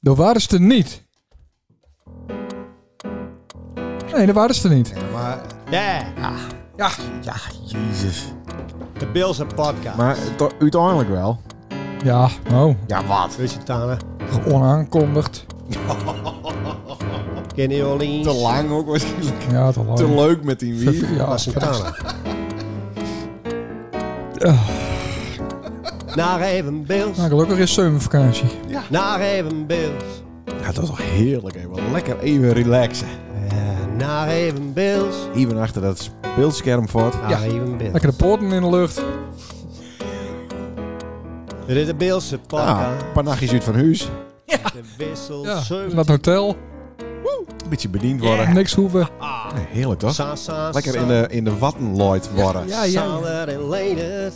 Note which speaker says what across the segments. Speaker 1: Dat waren ze er niet. Nee, dat waren ze er niet.
Speaker 2: Maar,
Speaker 3: Ja,
Speaker 1: Ja,
Speaker 2: ja, jezus.
Speaker 3: de Bills en podcast.
Speaker 2: Maar to- uiteindelijk wel.
Speaker 1: ja nou,
Speaker 2: Ja, wat?
Speaker 3: Weet je, Tana?
Speaker 1: onaankondigd.
Speaker 3: Kenny Orleans.
Speaker 2: Te lang ook waarschijnlijk.
Speaker 1: Ja, te lang.
Speaker 2: Te leuk met die wief.
Speaker 1: Ja,
Speaker 3: was een Tana. Oh. Naar even Bills.
Speaker 1: Nou, gelukkig is zomervakantie.
Speaker 3: Naar even Bills.
Speaker 2: Ja, dat is toch heerlijk even. Lekker even relaxen.
Speaker 3: Ja, Eh, naar even Bills.
Speaker 2: Even achter dat beeldscherm voort.
Speaker 3: Naar
Speaker 1: Ja.
Speaker 3: even Bills.
Speaker 1: Lekker de poorten in de lucht.
Speaker 3: Dit is de Bills en
Speaker 2: Nou,
Speaker 3: podcast.
Speaker 2: een paar nachtjes uit van huis.
Speaker 3: De wissel
Speaker 1: Ah. Ja, naar
Speaker 3: 17.
Speaker 1: het hotel.
Speaker 2: Een beetje bediend worden.
Speaker 1: Niks hoeven.
Speaker 3: Ah.
Speaker 2: Nee, heerlijk toch?
Speaker 3: Sa, sa,
Speaker 2: Lekker
Speaker 3: sa.
Speaker 2: in de, in de watten looid worden.
Speaker 1: Ja, ja, ja.
Speaker 3: Sander en Leendert.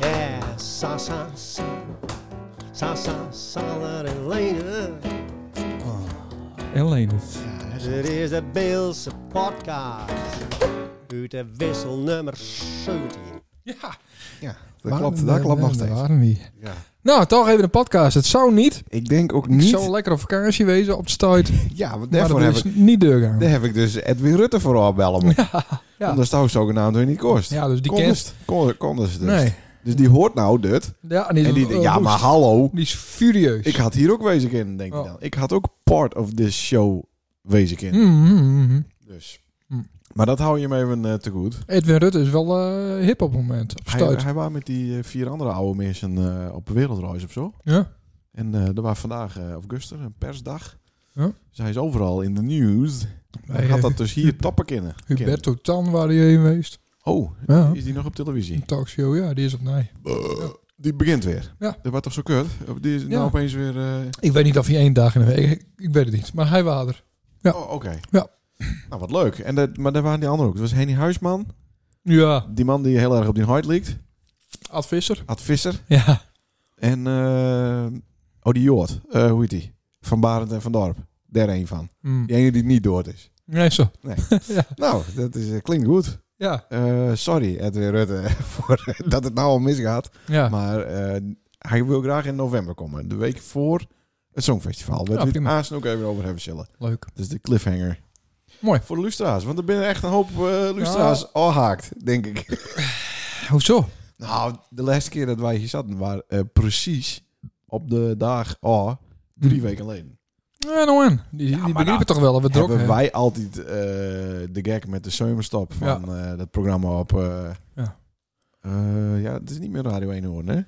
Speaker 3: Ja, sa, sa, sa. Sa, sa, Sander en Leendert.
Speaker 1: En Lenert.
Speaker 3: Dit is de Beelse podcast. Uit de wissel nummer 17.
Speaker 1: Ja,
Speaker 2: Ja, dat klopt, dat klopt nog steeds.
Speaker 1: Waren die.
Speaker 2: Ja.
Speaker 1: Nou, toch even een podcast. Het zou niet.
Speaker 2: Ik denk ook
Speaker 1: Het
Speaker 2: niet...
Speaker 1: zou lekker op vakantie wezen op de stuit.
Speaker 2: Ja, want
Speaker 1: Maar
Speaker 2: daarvoor
Speaker 1: dat
Speaker 2: heb
Speaker 1: is
Speaker 2: ik,
Speaker 1: niet doorgaan.
Speaker 2: daar heb ik dus Edwin Rutte voor opbellen. Ja,
Speaker 1: ja.
Speaker 2: Omdat het ook zogenaamd weer niet kost.
Speaker 1: Ja, dus die
Speaker 2: Kon
Speaker 1: kerst.
Speaker 2: het- kon- kon het dus.
Speaker 1: Nee.
Speaker 2: Dus die hoort nou dit.
Speaker 1: Ja, en die,
Speaker 2: En die
Speaker 1: eh,
Speaker 2: denkt, ja,
Speaker 1: roest.
Speaker 2: maar hallo.
Speaker 1: Die is furieus.
Speaker 2: Ik had hier ook wezen in, denk ik
Speaker 1: Oh.
Speaker 2: dan. Ik had ook part of this show wezen in.
Speaker 1: Mm, mm, mm.
Speaker 2: Dus.
Speaker 1: Hmm.
Speaker 2: Maar dat hou je hem even eh, te goed.
Speaker 1: Edwin Rutte is wel eh, hip op het moment. Op
Speaker 2: Hij,
Speaker 1: stuit.
Speaker 2: hij was met die eh, vier andere oude mensen eh, op wereldreis of zo.
Speaker 1: ja?
Speaker 2: En eh er was vandaag, eh of gisteren, een persdag.
Speaker 1: Ja.
Speaker 2: Dus hij is overal in de nieuws. Hij
Speaker 1: Bij,
Speaker 2: had
Speaker 1: eh,
Speaker 2: dat dus hier toppen kennen.
Speaker 1: Huberto Tan waren die heen geweest.
Speaker 2: Oh,
Speaker 1: Ja.
Speaker 2: is die nog op televisie? Eh,
Speaker 1: Een talkshow, ja, die is op nee.
Speaker 2: Die begint weer.
Speaker 1: Ja.
Speaker 2: Dat was toch zo kut? Die is nou
Speaker 1: Ja.
Speaker 2: opeens weer... eh,
Speaker 1: Ik weet niet of hij één dag in de week... Ik, ik weet het niet, maar hij was er. Ja.
Speaker 2: Oh, oké.
Speaker 1: Ja.
Speaker 2: Nou, wat leuk. En dat, maar daar waren die anderen ook. Dat was Henny Huisman.
Speaker 1: Ja,
Speaker 2: Die man die heel erg op die huid liekt.
Speaker 1: Ad Visser.
Speaker 2: Ad Visser.
Speaker 1: Ja.
Speaker 2: En... eh oh, die Jood. Eh, hoe heet die? Van Barend en Van Dorp. Daar een van.
Speaker 1: Mm.
Speaker 2: Die ene die niet dood is.
Speaker 1: Nee, zo.
Speaker 2: Nou, dat is, eh, klinkt goed.
Speaker 1: Ja.
Speaker 2: Eh, sorry, Edwin Rutte, voor, dat het nou al misgaat.
Speaker 1: Ja.
Speaker 2: Maar eh, hij wil graag in november komen. De week voor het Songfestival. Waar
Speaker 1: Ja,
Speaker 2: we het
Speaker 1: prima.
Speaker 2: aanstaan ook even over hebben zullen.
Speaker 1: Leuk.
Speaker 2: Dus de cliffhanger.
Speaker 1: Mooi.
Speaker 2: Voor de lustra's. Want er binnen echt een hoop eh lustra's al haakt, denk ik.
Speaker 1: Hoezo?
Speaker 2: Nou, de laatste keer dat wij hier zaten, waren eh, precies op de dag oh, drie
Speaker 1: Hm.
Speaker 2: weken geleden.
Speaker 1: Ja, nou en. Die,
Speaker 2: Ja,
Speaker 1: die
Speaker 2: maar
Speaker 1: begrepen
Speaker 2: dat
Speaker 1: toch wel dat we druk
Speaker 2: Hebben
Speaker 1: hebben.
Speaker 2: wij altijd eh, de gag met de zomerstop van eh, dat programma op... eh,
Speaker 1: Ja.
Speaker 2: eh, ja, het is niet meer Radio 1 hoor, hè?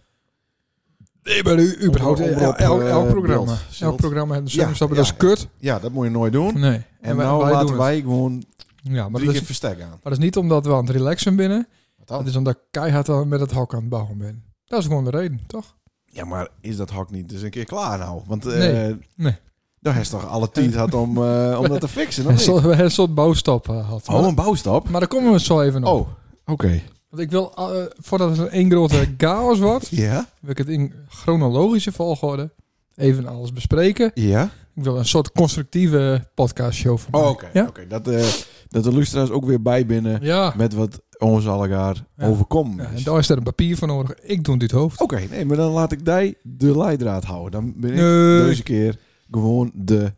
Speaker 1: Nee, maar u- überhaupt
Speaker 2: Omroep,
Speaker 1: elk, elk,
Speaker 2: eh,
Speaker 1: elk programma.
Speaker 2: beeld, zilt.
Speaker 1: elk programma heeft een
Speaker 2: Ja,
Speaker 1: zomerstappen,
Speaker 2: ja.
Speaker 1: dat is kut.
Speaker 2: Ja, dat moet je nooit doen.
Speaker 1: Nee. En,
Speaker 2: En
Speaker 1: wij-
Speaker 2: nou
Speaker 1: wij
Speaker 2: laten
Speaker 1: doen het.
Speaker 2: wij gewoon
Speaker 1: Ja, maar
Speaker 2: drie
Speaker 1: dat,
Speaker 2: keer
Speaker 1: is,
Speaker 2: verstek aan.
Speaker 1: maar dat is niet omdat we aan het relaxen binnen.
Speaker 2: Wat
Speaker 1: Dat
Speaker 2: dan?
Speaker 1: is omdat ik keihard al met het hok aan het bouwen ben. Dat is gewoon de reden, toch?
Speaker 2: Ja, maar is dat hak niet dus een keer klaar nou? Want eh
Speaker 1: Nee, nee.
Speaker 2: daar is toch alle tijd had om, eh, om dat te fixen, of
Speaker 1: En
Speaker 2: niet?
Speaker 1: zo, we hebben een soort bouwstap eh, gehad.
Speaker 2: Oh, een bouwstap?
Speaker 1: Maar- Maar daar komen we zo even op.
Speaker 2: Oh, oké.
Speaker 1: Want ik wil, eh, voordat het één grote chaos wordt,
Speaker 2: Ja?
Speaker 1: wil ik het in chronologische volgorde even alles bespreken.
Speaker 2: Ja?
Speaker 1: Ik wil een soort constructieve podcastshow van
Speaker 2: Oh, oké.
Speaker 1: maken. Ja?
Speaker 2: oké. Dat, eh, dat de lustra's ook weer bij binnen
Speaker 1: Ja.
Speaker 2: met wat ons allegaar
Speaker 1: Ja.
Speaker 2: overkomt.
Speaker 1: Ja,
Speaker 2: is.
Speaker 1: en daar is er een papier voor nodig. Ik doe dit hoofd.
Speaker 2: Oké, nee, maar dan laat ik die de leidraad houden. Dan ben ik
Speaker 1: Nee.
Speaker 2: deze keer gewoon de...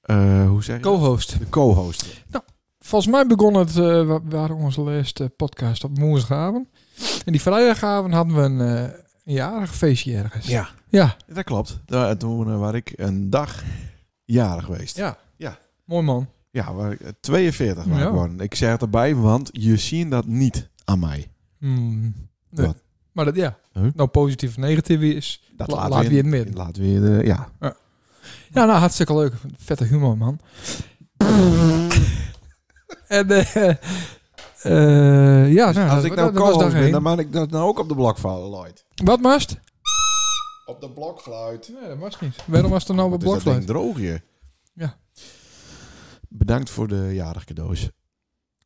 Speaker 2: eh, hoe zeg je? dat?
Speaker 1: Co-host.
Speaker 2: de co-host.
Speaker 1: Volgens mij begon het, eh, wa- waren onze laatste podcast op woensdagavond. En die vrijdagavond hadden we een, eh, een jarig feestje ergens.
Speaker 2: Ja.
Speaker 1: Ja.
Speaker 2: Ja, Dat klopt. Daar, toen eh, was ik een dag jarig geweest.
Speaker 1: Ja.
Speaker 2: Ja.
Speaker 1: Mooi man.
Speaker 2: Ja, waar ik, eh, 42 was
Speaker 1: Ja.
Speaker 2: ik geworden. Ik zeg het erbij, want je ziet dat niet aan mij.
Speaker 1: Hmm. Nee.
Speaker 2: Wat?
Speaker 1: Maar dat, ja.
Speaker 2: Huh?
Speaker 1: Nou, positief of negatief is.
Speaker 2: Dat
Speaker 1: La-
Speaker 2: laat
Speaker 1: laat
Speaker 2: weer
Speaker 1: weer midden.
Speaker 2: Laat weer, eh, ja.
Speaker 1: Ja, nou, hartstikke leuk. Vette humor, man. en, eh, eh, ja.
Speaker 2: Dus
Speaker 1: nou,
Speaker 2: als
Speaker 1: dat-
Speaker 2: ik
Speaker 1: dat-
Speaker 2: nou
Speaker 1: dat was
Speaker 2: co
Speaker 1: dag
Speaker 2: ben,
Speaker 1: één.
Speaker 2: dan maak ik dat nou ook op de blokfluit. Lloyd.
Speaker 1: Wat, Mast?
Speaker 2: Op de blokfluit.
Speaker 1: Nee, dat was niet. Waarom was er nou
Speaker 2: Wat
Speaker 1: wat
Speaker 2: is dat
Speaker 1: blokfluit?
Speaker 2: ding droogje?
Speaker 1: Ja.
Speaker 2: Bedankt voor de jarig cadeaus.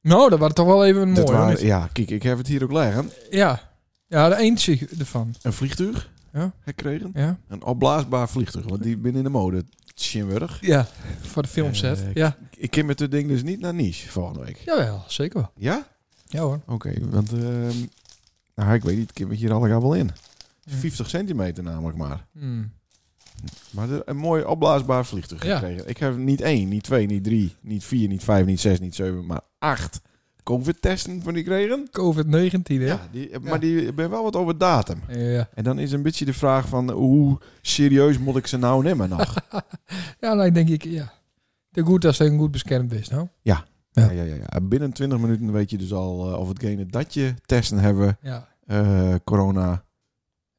Speaker 1: Nou, dat was toch wel even mooi.
Speaker 2: Dat
Speaker 1: hoor,
Speaker 2: waren-
Speaker 1: niet?
Speaker 2: ja, kijk, ik heb het hier ook liggen.
Speaker 1: Ja. Ja, de eentje ervan.
Speaker 2: Een vliegtuig
Speaker 1: Ja.
Speaker 2: gekregen.
Speaker 1: Ja.
Speaker 2: Een opblaasbaar vliegtuig, want die ben in de mode. Schimwurg.
Speaker 1: Ja. Voor de filmset.
Speaker 2: Eh,
Speaker 1: ja.
Speaker 2: Ik ken met dit ding dus niet naar Nice volgende week.
Speaker 1: Jawel, zeker wel.
Speaker 2: Ja?
Speaker 1: Ja hoor.
Speaker 2: Oh, Oké, want ehm, nou, ik weet niet, ik heb het hier allemaal wel in.
Speaker 1: Hm.
Speaker 2: is 50 centimeter namelijk maar.
Speaker 1: Hmm.
Speaker 2: Maar er- een mooi opblaasbaar vliegtuig
Speaker 1: Ja.
Speaker 2: gekregen. Ik heb niet één, niet twee, niet drie, niet vier, niet vijf, niet zes, niet zeven, maar acht COVID-testen van die kregen.
Speaker 1: COVID-19, hè?
Speaker 2: Ja, die, maar die ben wel wat over datum.
Speaker 1: Ja.
Speaker 2: En dan is een beetje de vraag van hoe serieus moet ik ze nou nemen nog?
Speaker 1: Ja, nou, ik denk ik, ja. De goed als hij goed beschermd is, nou.
Speaker 2: ja, ja, ja, ja. Binnen 20 minuten weet je dus al eh, of hetgene dat je testen hebben
Speaker 1: Ja.
Speaker 2: eh, corona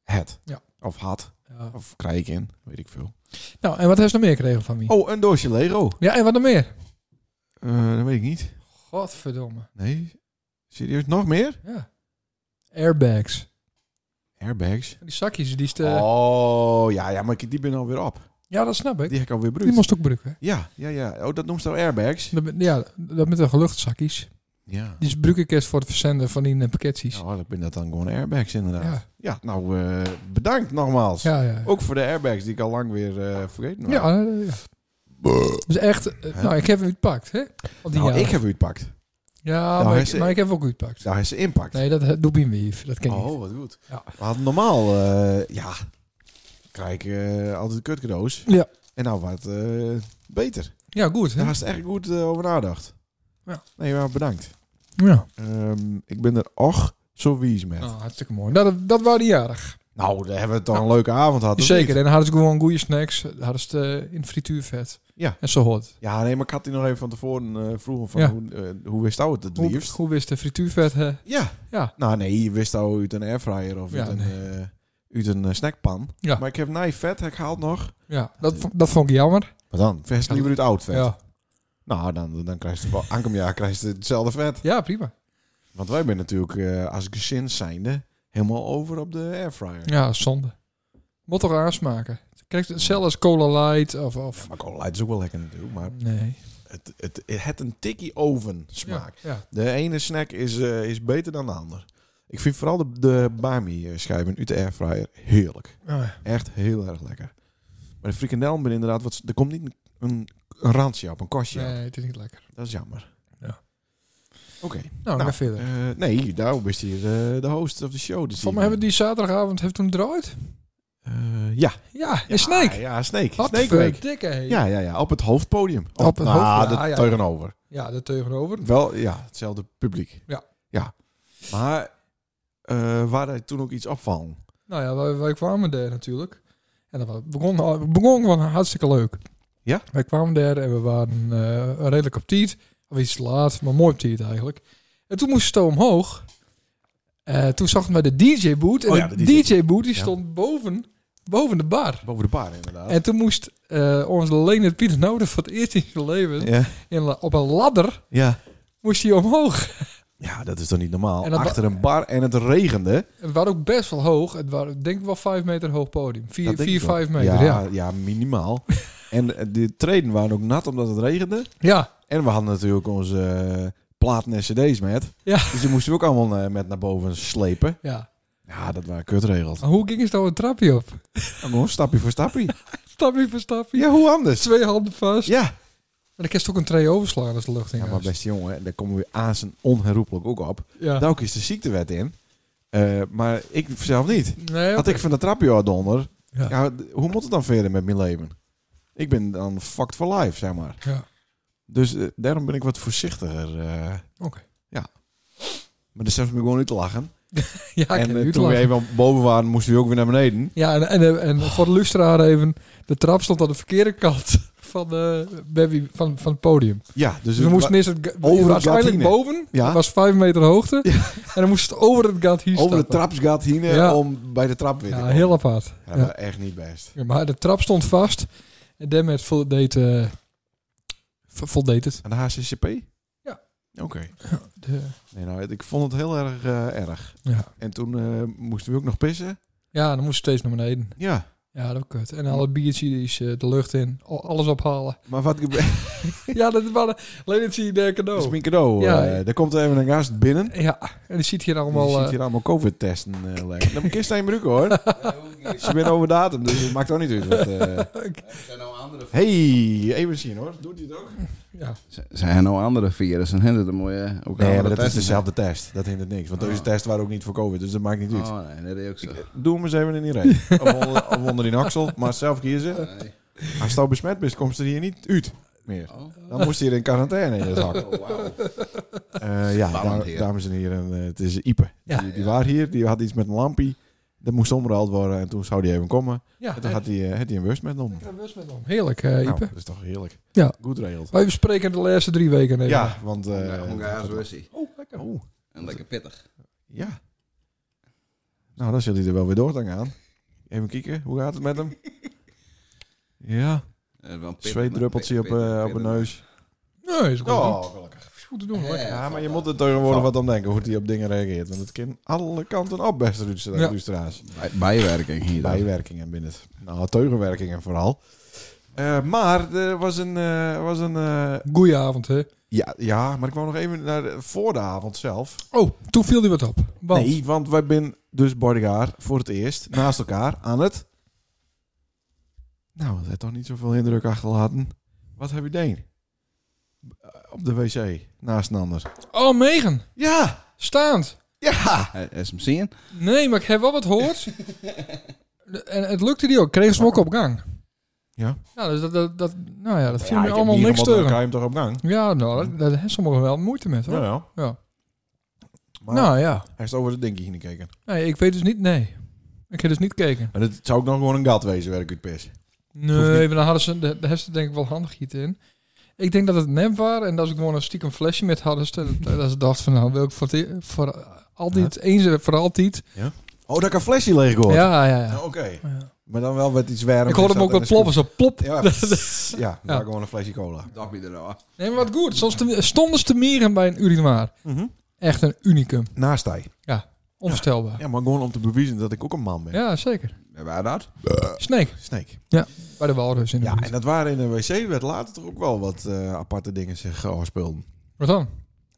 Speaker 2: het.
Speaker 1: Ja.
Speaker 2: Of had.
Speaker 1: ja.
Speaker 2: Of krijg ik in. Weet ik veel.
Speaker 1: Nou, en wat heeft ze nog meer gekregen van wie?
Speaker 2: Oh, een doosje Lego.
Speaker 1: Ja, en wat nog meer?
Speaker 2: Eh, dat weet ik niet.
Speaker 1: Godverdomme.
Speaker 2: Nee. Serieus, nog meer?
Speaker 1: Ja. Airbags.
Speaker 2: Airbags.
Speaker 1: Die zakjes, die is te...
Speaker 2: Oh, ja, ja, maar ik- die ben alweer op.
Speaker 1: Ja, dat snap ik.
Speaker 2: Die heb ik alweer
Speaker 1: Die
Speaker 2: bruut.
Speaker 1: moest ook gebruiken.
Speaker 2: Ja, ja, ja. Oh, dat noemt ze nou airbags?
Speaker 1: Dat met- Ja, dat met de geluchtszakjes.
Speaker 2: Ja.
Speaker 1: Die gebruik ik eerst voor het verzenden van die eh, pakketjes.
Speaker 2: Nou, ik ben dat dan gewoon airbags inderdaad. Ja,
Speaker 1: Ja,
Speaker 2: nou, eh, bedankt nogmaals.
Speaker 1: ja, ja.
Speaker 2: Ook voor de airbags die ik al lang weer eh, vergeten was.
Speaker 1: Ja, eh, ja. Dus echt, eh,
Speaker 2: Hè?
Speaker 1: nou, ik heb hem uitpakt, hè? Al die eh,
Speaker 2: Nou,
Speaker 1: jaren.
Speaker 2: ik heb u het pakt.
Speaker 1: Ja,
Speaker 2: Nou,
Speaker 1: maar,
Speaker 2: hij
Speaker 1: ik,
Speaker 2: is-
Speaker 1: maar ik heb hem ook uitpakt.
Speaker 2: Daar is ze impact.
Speaker 1: Nee, dat eh, doe ik niet. Dat ken ik niet.
Speaker 2: oh, wat goed.
Speaker 1: Ja.
Speaker 2: We hadden normaal, eh, ja, krijg ik eh, altijd kut cadeaus.
Speaker 1: Ja.
Speaker 2: En nou wat eh, beter.
Speaker 1: Ja, goed, hè?
Speaker 2: Daar is echt goed eh, over nagedacht.
Speaker 1: Ja.
Speaker 2: Nee, maar bedankt.
Speaker 1: Ja.
Speaker 2: Ehm, ik ben er och zo wies met.
Speaker 1: Nou, hartstikke mooi. Dat, dat waren die jarig.
Speaker 2: Nou, daar hebben we toch een leuke avond gehad. of
Speaker 1: Zeker.
Speaker 2: niet?
Speaker 1: En dan hadden ze gewoon goede snacks. Dan Hadden ze het eh, in frituurvet.
Speaker 2: Ja.
Speaker 1: En zo hoort.
Speaker 2: Ja, nee, maar ik had die nog even van tevoren eh vroegen van
Speaker 1: Ja.
Speaker 2: hoe, eh, hoe wist jou het het
Speaker 1: Hoe,
Speaker 2: liefst?
Speaker 1: hoe wist de frituurvet? hè?
Speaker 2: Ja.
Speaker 1: Ja.
Speaker 2: Nou nee, je wist al uit een airfryer of
Speaker 1: Ja,
Speaker 2: uit, een,
Speaker 1: nee.
Speaker 2: eh, uit een eh, snackpan.
Speaker 1: Ja.
Speaker 2: Maar ik heb naai vet heb ik gehaald nog.
Speaker 1: Ja, dat, vond- dat vond ik jammer.
Speaker 2: Maar dan, vers
Speaker 1: Ja.
Speaker 2: liever uit oud vet.
Speaker 1: Ja.
Speaker 2: Nou, dan, dan krijg je wel aankomend jaar krijg je hetzelfde vet.
Speaker 1: ja, prima.
Speaker 2: Want wij zijn natuurlijk eh, als gezin zijnde helemaal over op de airfryer.
Speaker 1: Ja, zonde. Moet toch aansmaken. Krijg je hetzelfde als Cola Light of... of...
Speaker 2: Maar cola light is ook wel lekker natuurlijk, maar
Speaker 1: Nee.
Speaker 2: het, het, het, het een tikkie oven smaak.
Speaker 1: Ja, ja.
Speaker 2: De ene snack is, eh, is beter dan de ander. Ik vind vooral de, de bami eh, schijven uit de airfryer heerlijk.
Speaker 1: Oh, ja.
Speaker 2: Echt heel erg lekker. Maar de frikandel ben inderdaad, wat, er komt niet een, een, een randje op, een kostje op.
Speaker 1: Nee, het is niet lekker.
Speaker 2: Dat is jammer.
Speaker 1: Ja.
Speaker 2: Oké.
Speaker 1: Nou,
Speaker 2: Nou,
Speaker 1: nou verder.
Speaker 2: eh, nee, daarom is hier eh, de host of de show. Dus
Speaker 1: Van mij hebben we die zaterdagavond heeft toen draait.
Speaker 2: Eh, ja.
Speaker 1: Ja,
Speaker 2: ja.
Speaker 1: in Snake.
Speaker 2: Ja, Snake.
Speaker 1: Wat
Speaker 2: Snake Week.
Speaker 1: dikke hé.
Speaker 2: Ja, ja, ja. Op het hoofdpodium.
Speaker 1: Op het
Speaker 2: nou,
Speaker 1: hoofd-
Speaker 2: de
Speaker 1: ja, ja.
Speaker 2: tegenover.
Speaker 1: ja, daar tegenover.
Speaker 2: Wel, ja, hetzelfde publiek.
Speaker 1: Ja.
Speaker 2: Ja. Maar eh waar hij toen ook iets opvallen.
Speaker 1: Nou ja, wij, wij kwamen daar natuurlijk. En dat was- begon, het begon gewoon hartstikke leuk.
Speaker 2: Ja?
Speaker 1: Wij kwamen daar en we waren eh, redelijk op tijd. Of iets laat, maar mooi op tijd eigenlijk. En toen moest het omhoog. Eh, toen zagen wij de DJ-boot. En
Speaker 2: Oh ja,
Speaker 1: de
Speaker 2: de DJ.
Speaker 1: DJ-boot die
Speaker 2: Ja.
Speaker 1: stond boven, boven de bar.
Speaker 2: Boven de bar, inderdaad.
Speaker 1: En toen moest eh onze Leonard Pieter Noden voor het eerst in zijn leven...
Speaker 2: Ja.
Speaker 1: in la- op een ladder
Speaker 2: ja.
Speaker 1: moest hij omhoog.
Speaker 2: Ja, dat is toch niet normaal.
Speaker 1: En dat ba-
Speaker 2: Achter een bar en het regende.
Speaker 1: Het was ook best wel hoog. Het was denk ik wel 5 meter hoog podium.
Speaker 2: Dat
Speaker 1: 4,
Speaker 2: denk
Speaker 1: 4
Speaker 2: ik wel.
Speaker 1: 5 meter, ja.
Speaker 2: ja.
Speaker 1: Ja,
Speaker 2: minimaal. en eh, de treden waren ook nat omdat het regende.
Speaker 1: ja.
Speaker 2: En we hadden natuurlijk onze eh, platen en cd's met.
Speaker 1: Ja.
Speaker 2: Dus die moesten we ook allemaal eh, met naar boven slepen. Ja, dat waren kutregels.
Speaker 1: Maar hoe ging het nou een trapje op?
Speaker 2: Gewoon stapje voor stapje.
Speaker 1: Stapje voor stapje.
Speaker 2: Ja, hoe anders?
Speaker 1: Twee handen vast.
Speaker 2: Ja.
Speaker 1: En dan kan je het ook een tree overslaan als de lucht in
Speaker 2: Ja, maar
Speaker 1: huis.
Speaker 2: beste jongen, en daar komen we aan zijn onherroepelijk ook op.
Speaker 1: Ja.
Speaker 2: Daar ook is Nou de ziektewet in. Eh, maar ik zelf niet.
Speaker 1: Nee,
Speaker 2: Had ik van de trapje al donder.
Speaker 1: Ja.
Speaker 2: Ja. d- hoe moet het dan verder met mijn leven? Ik ben dan fucked for life, zeg maar.
Speaker 1: Ja.
Speaker 2: Dus eh, daarom ben ik wat voorzichtiger. eh.
Speaker 1: Oké.
Speaker 2: Ja. Maar de zelfs me gewoon niet te lachen.
Speaker 1: ja, ik
Speaker 2: en
Speaker 1: heb
Speaker 2: eh,
Speaker 1: u te
Speaker 2: toen we
Speaker 1: lachen.
Speaker 2: even boven waren, moesten we ook weer naar beneden.
Speaker 1: Ja, en, en, en voor de luisteraar even. De trap stond aan de verkeerde kant van, de baby, van, van het podium.
Speaker 2: Ja, dus
Speaker 1: Dus we
Speaker 2: het
Speaker 1: moesten
Speaker 2: wa-
Speaker 1: eerst het, ga-
Speaker 2: over
Speaker 1: het
Speaker 2: het
Speaker 1: was uiteindelijk
Speaker 2: gat
Speaker 1: boven.
Speaker 2: Ja.
Speaker 1: Het was 5 meter hoogte. En dan moest het over het gat hier
Speaker 2: over de
Speaker 1: stappen.
Speaker 2: trapsgat heen eh,
Speaker 1: Ja.
Speaker 2: om bij de trap weer te
Speaker 1: Ja,
Speaker 2: komen.
Speaker 1: heel apart.
Speaker 2: Ja, dat was echt niet best.
Speaker 1: Ja, maar de trap stond vast. En daarmee voldeed, eh, vo- voldeed het.
Speaker 2: Aan de HCCP?
Speaker 1: Ja.
Speaker 2: Oké.
Speaker 1: De-
Speaker 2: Nee, nou, ik vond het heel erg eh, erg.
Speaker 1: ja.
Speaker 2: En toen eh, moesten we ook nog pissen.
Speaker 1: ja, dan moest je steeds naar beneden.
Speaker 2: Ja.
Speaker 1: Ja, dat kut. En alle biertjes, eh, de lucht in, al- alles ophalen.
Speaker 2: Maar wat gebeurt
Speaker 1: ja, dat waren alleen zie je daar
Speaker 2: is
Speaker 1: cadeau.
Speaker 2: mijn cadeau.
Speaker 1: Oh. Ja.
Speaker 2: Eh, er komt even een gast binnen.
Speaker 1: Ja, en die ziet hier
Speaker 2: Je
Speaker 1: allemaal...
Speaker 2: ziet
Speaker 1: eh,
Speaker 2: hier allemaal COVID-testen eh leggen. Dan kist hij in broek hoor. Ze ben over datum, dus het maakt ook niet uit. Wat, eh.
Speaker 4: Zijn nou andere,
Speaker 2: Hey, even zien hoor. Doet hij het ook?
Speaker 1: Ja.
Speaker 4: zijn er nou andere virussen? Zijn het een mooie... Ook
Speaker 2: Nee,
Speaker 4: andere
Speaker 2: maar Nou, dat is Ah.
Speaker 4: testen?
Speaker 2: dezelfde test. Dat hindert niks. Want deze test waren ook niet voor COVID, dus dat maakt niet uit.
Speaker 1: Ah.
Speaker 4: Oh nee, dat is ook zo.
Speaker 2: Doe hem eens even in die rij. of, onder, of onder die naksel, maar zelf kiezen.
Speaker 4: Nee.
Speaker 2: Als je besmet bent, komt ze hier niet uit meer.
Speaker 4: Oh.
Speaker 2: Dan moest hij hier in quarantaine in de zak.
Speaker 4: Oh, wauw.
Speaker 2: Eh, ja,
Speaker 4: Spannend,
Speaker 2: da-
Speaker 4: heer.
Speaker 2: dames en heren, eh, het is Ipe.
Speaker 1: Ja.
Speaker 2: Die, die waren hier, die had iets met een lampje. Dat moest omgehaald worden en toen zou die even komen.
Speaker 1: Ja,
Speaker 2: En toen had hij eh, had hij een worst met om.
Speaker 1: Lekker bus met hem. Heerlijk, eh
Speaker 2: Nou,
Speaker 1: Ipe.
Speaker 2: dat is toch heerlijk.
Speaker 1: Ja.
Speaker 2: Goed regeld.
Speaker 1: Wij bespreken de laatste drie weken. even.
Speaker 2: Ja, want... eh,
Speaker 4: Honga- Hongaars Russie.
Speaker 1: Oh, lekker.
Speaker 2: Oeh,
Speaker 4: En lekker pittig.
Speaker 2: ja. Nou, dan zit hij er wel weer door aan. Even kijken, hoe gaat het met hem? Ja,
Speaker 4: Eh, wel een pittig,
Speaker 2: zweetdruppeltje op,
Speaker 4: maar pittig,
Speaker 2: eh, op
Speaker 4: pittig,
Speaker 2: een neus.
Speaker 1: Nee, is goed.
Speaker 2: Oh, gelukkig.
Speaker 1: Is goed te doen.
Speaker 4: Ja,
Speaker 1: Lekker.
Speaker 2: Ja, maar je moet er tegenwoordig wat aan denken, hoe hij op dingen reageert. Want het kan alle kanten op, beste
Speaker 1: Ja.
Speaker 2: Lustra's.
Speaker 4: Bij- Bijwerking hier. dan.
Speaker 2: bijwerkingen binnen het. Nou, teugenwerkingen vooral. Eh, maar er was een. eh, was een eh,
Speaker 1: Goeie avond, hè?
Speaker 2: ja, ja, maar ik wou nog even naar de, voor de avond zelf.
Speaker 1: Oh, toen viel hij wat op. Want,
Speaker 2: Nee, want wij zijn dus Bordegaar voor het eerst naast elkaar aan het. Nou, dat heeft toch niet zoveel indruk achterlaten. Wat heb je deed? Eh, Op de wc, naast een ander.
Speaker 1: Oh, Megan.
Speaker 2: Ja!
Speaker 1: Staand.
Speaker 2: Ja!
Speaker 4: Eh, Is hem zien?
Speaker 1: Nee, maar ik heb wel wat gehoord. en het lukte die ook. Kreeg ze hem ook op gang.
Speaker 2: Ja.
Speaker 1: Ja, dus dat, dat, dat, nou ja, dat viel
Speaker 2: Ja, ik
Speaker 1: me
Speaker 2: heb
Speaker 1: allemaal
Speaker 2: niet
Speaker 1: niks
Speaker 2: gemotten, dan
Speaker 1: teuren.
Speaker 2: kan je hem toch op gang?
Speaker 1: Ja, nou, dat- daar hebben sommigen wel moeite met, hoor.
Speaker 2: ja.
Speaker 1: Ja.
Speaker 2: Maar
Speaker 1: Nou ja.
Speaker 2: hij is over het dingetje heen gekeken.
Speaker 1: Nee, ik weet dus niet, nee. Ik heb dus niet gekeken.
Speaker 2: En het zou ook nog gewoon een gat wezen, werk uit pis. Hoeft
Speaker 1: Nee, maar dan hadden ze, daar daar hebben ze denk ik wel handig iets in. Ik denk dat het nep waren en dat ze gewoon een stiekem flesje met hadden. ze- Dat, dat ze dachten van, nou, wil ik voor, die- voor altijd, eens en voor altijd.
Speaker 2: Oh, dat ik een flesje leeg hoor.
Speaker 1: Ja, ja,
Speaker 2: Nou,
Speaker 1: ja.
Speaker 2: Oké.
Speaker 1: Ja.
Speaker 2: Maar dan wel met iets warm.
Speaker 1: Ik hoorde hem ook wat ploppen, zo plop.
Speaker 2: Ja, pss, ja, dan
Speaker 1: Ja.
Speaker 2: pak gewoon een flesje cola.
Speaker 4: Dat ben je er al.
Speaker 1: Nee, maar wat goed. Soms te- stonden ze te mieren bij een urinoir. Echt een unicum.
Speaker 2: Mhm. Naast hij.
Speaker 1: Onvoorstelbaar.
Speaker 2: Ja, maar gewoon om te bewijzen dat ik ook een man ben.
Speaker 1: Ja, zeker.
Speaker 4: Waar dat?
Speaker 1: Snake,
Speaker 2: Snake.
Speaker 1: bij de walrus in de
Speaker 2: Ja,
Speaker 1: buurt.
Speaker 2: en dat waren in de wc werd later toch ook wel wat eh, aparte dingen zich afspeelden.
Speaker 1: Wat dan?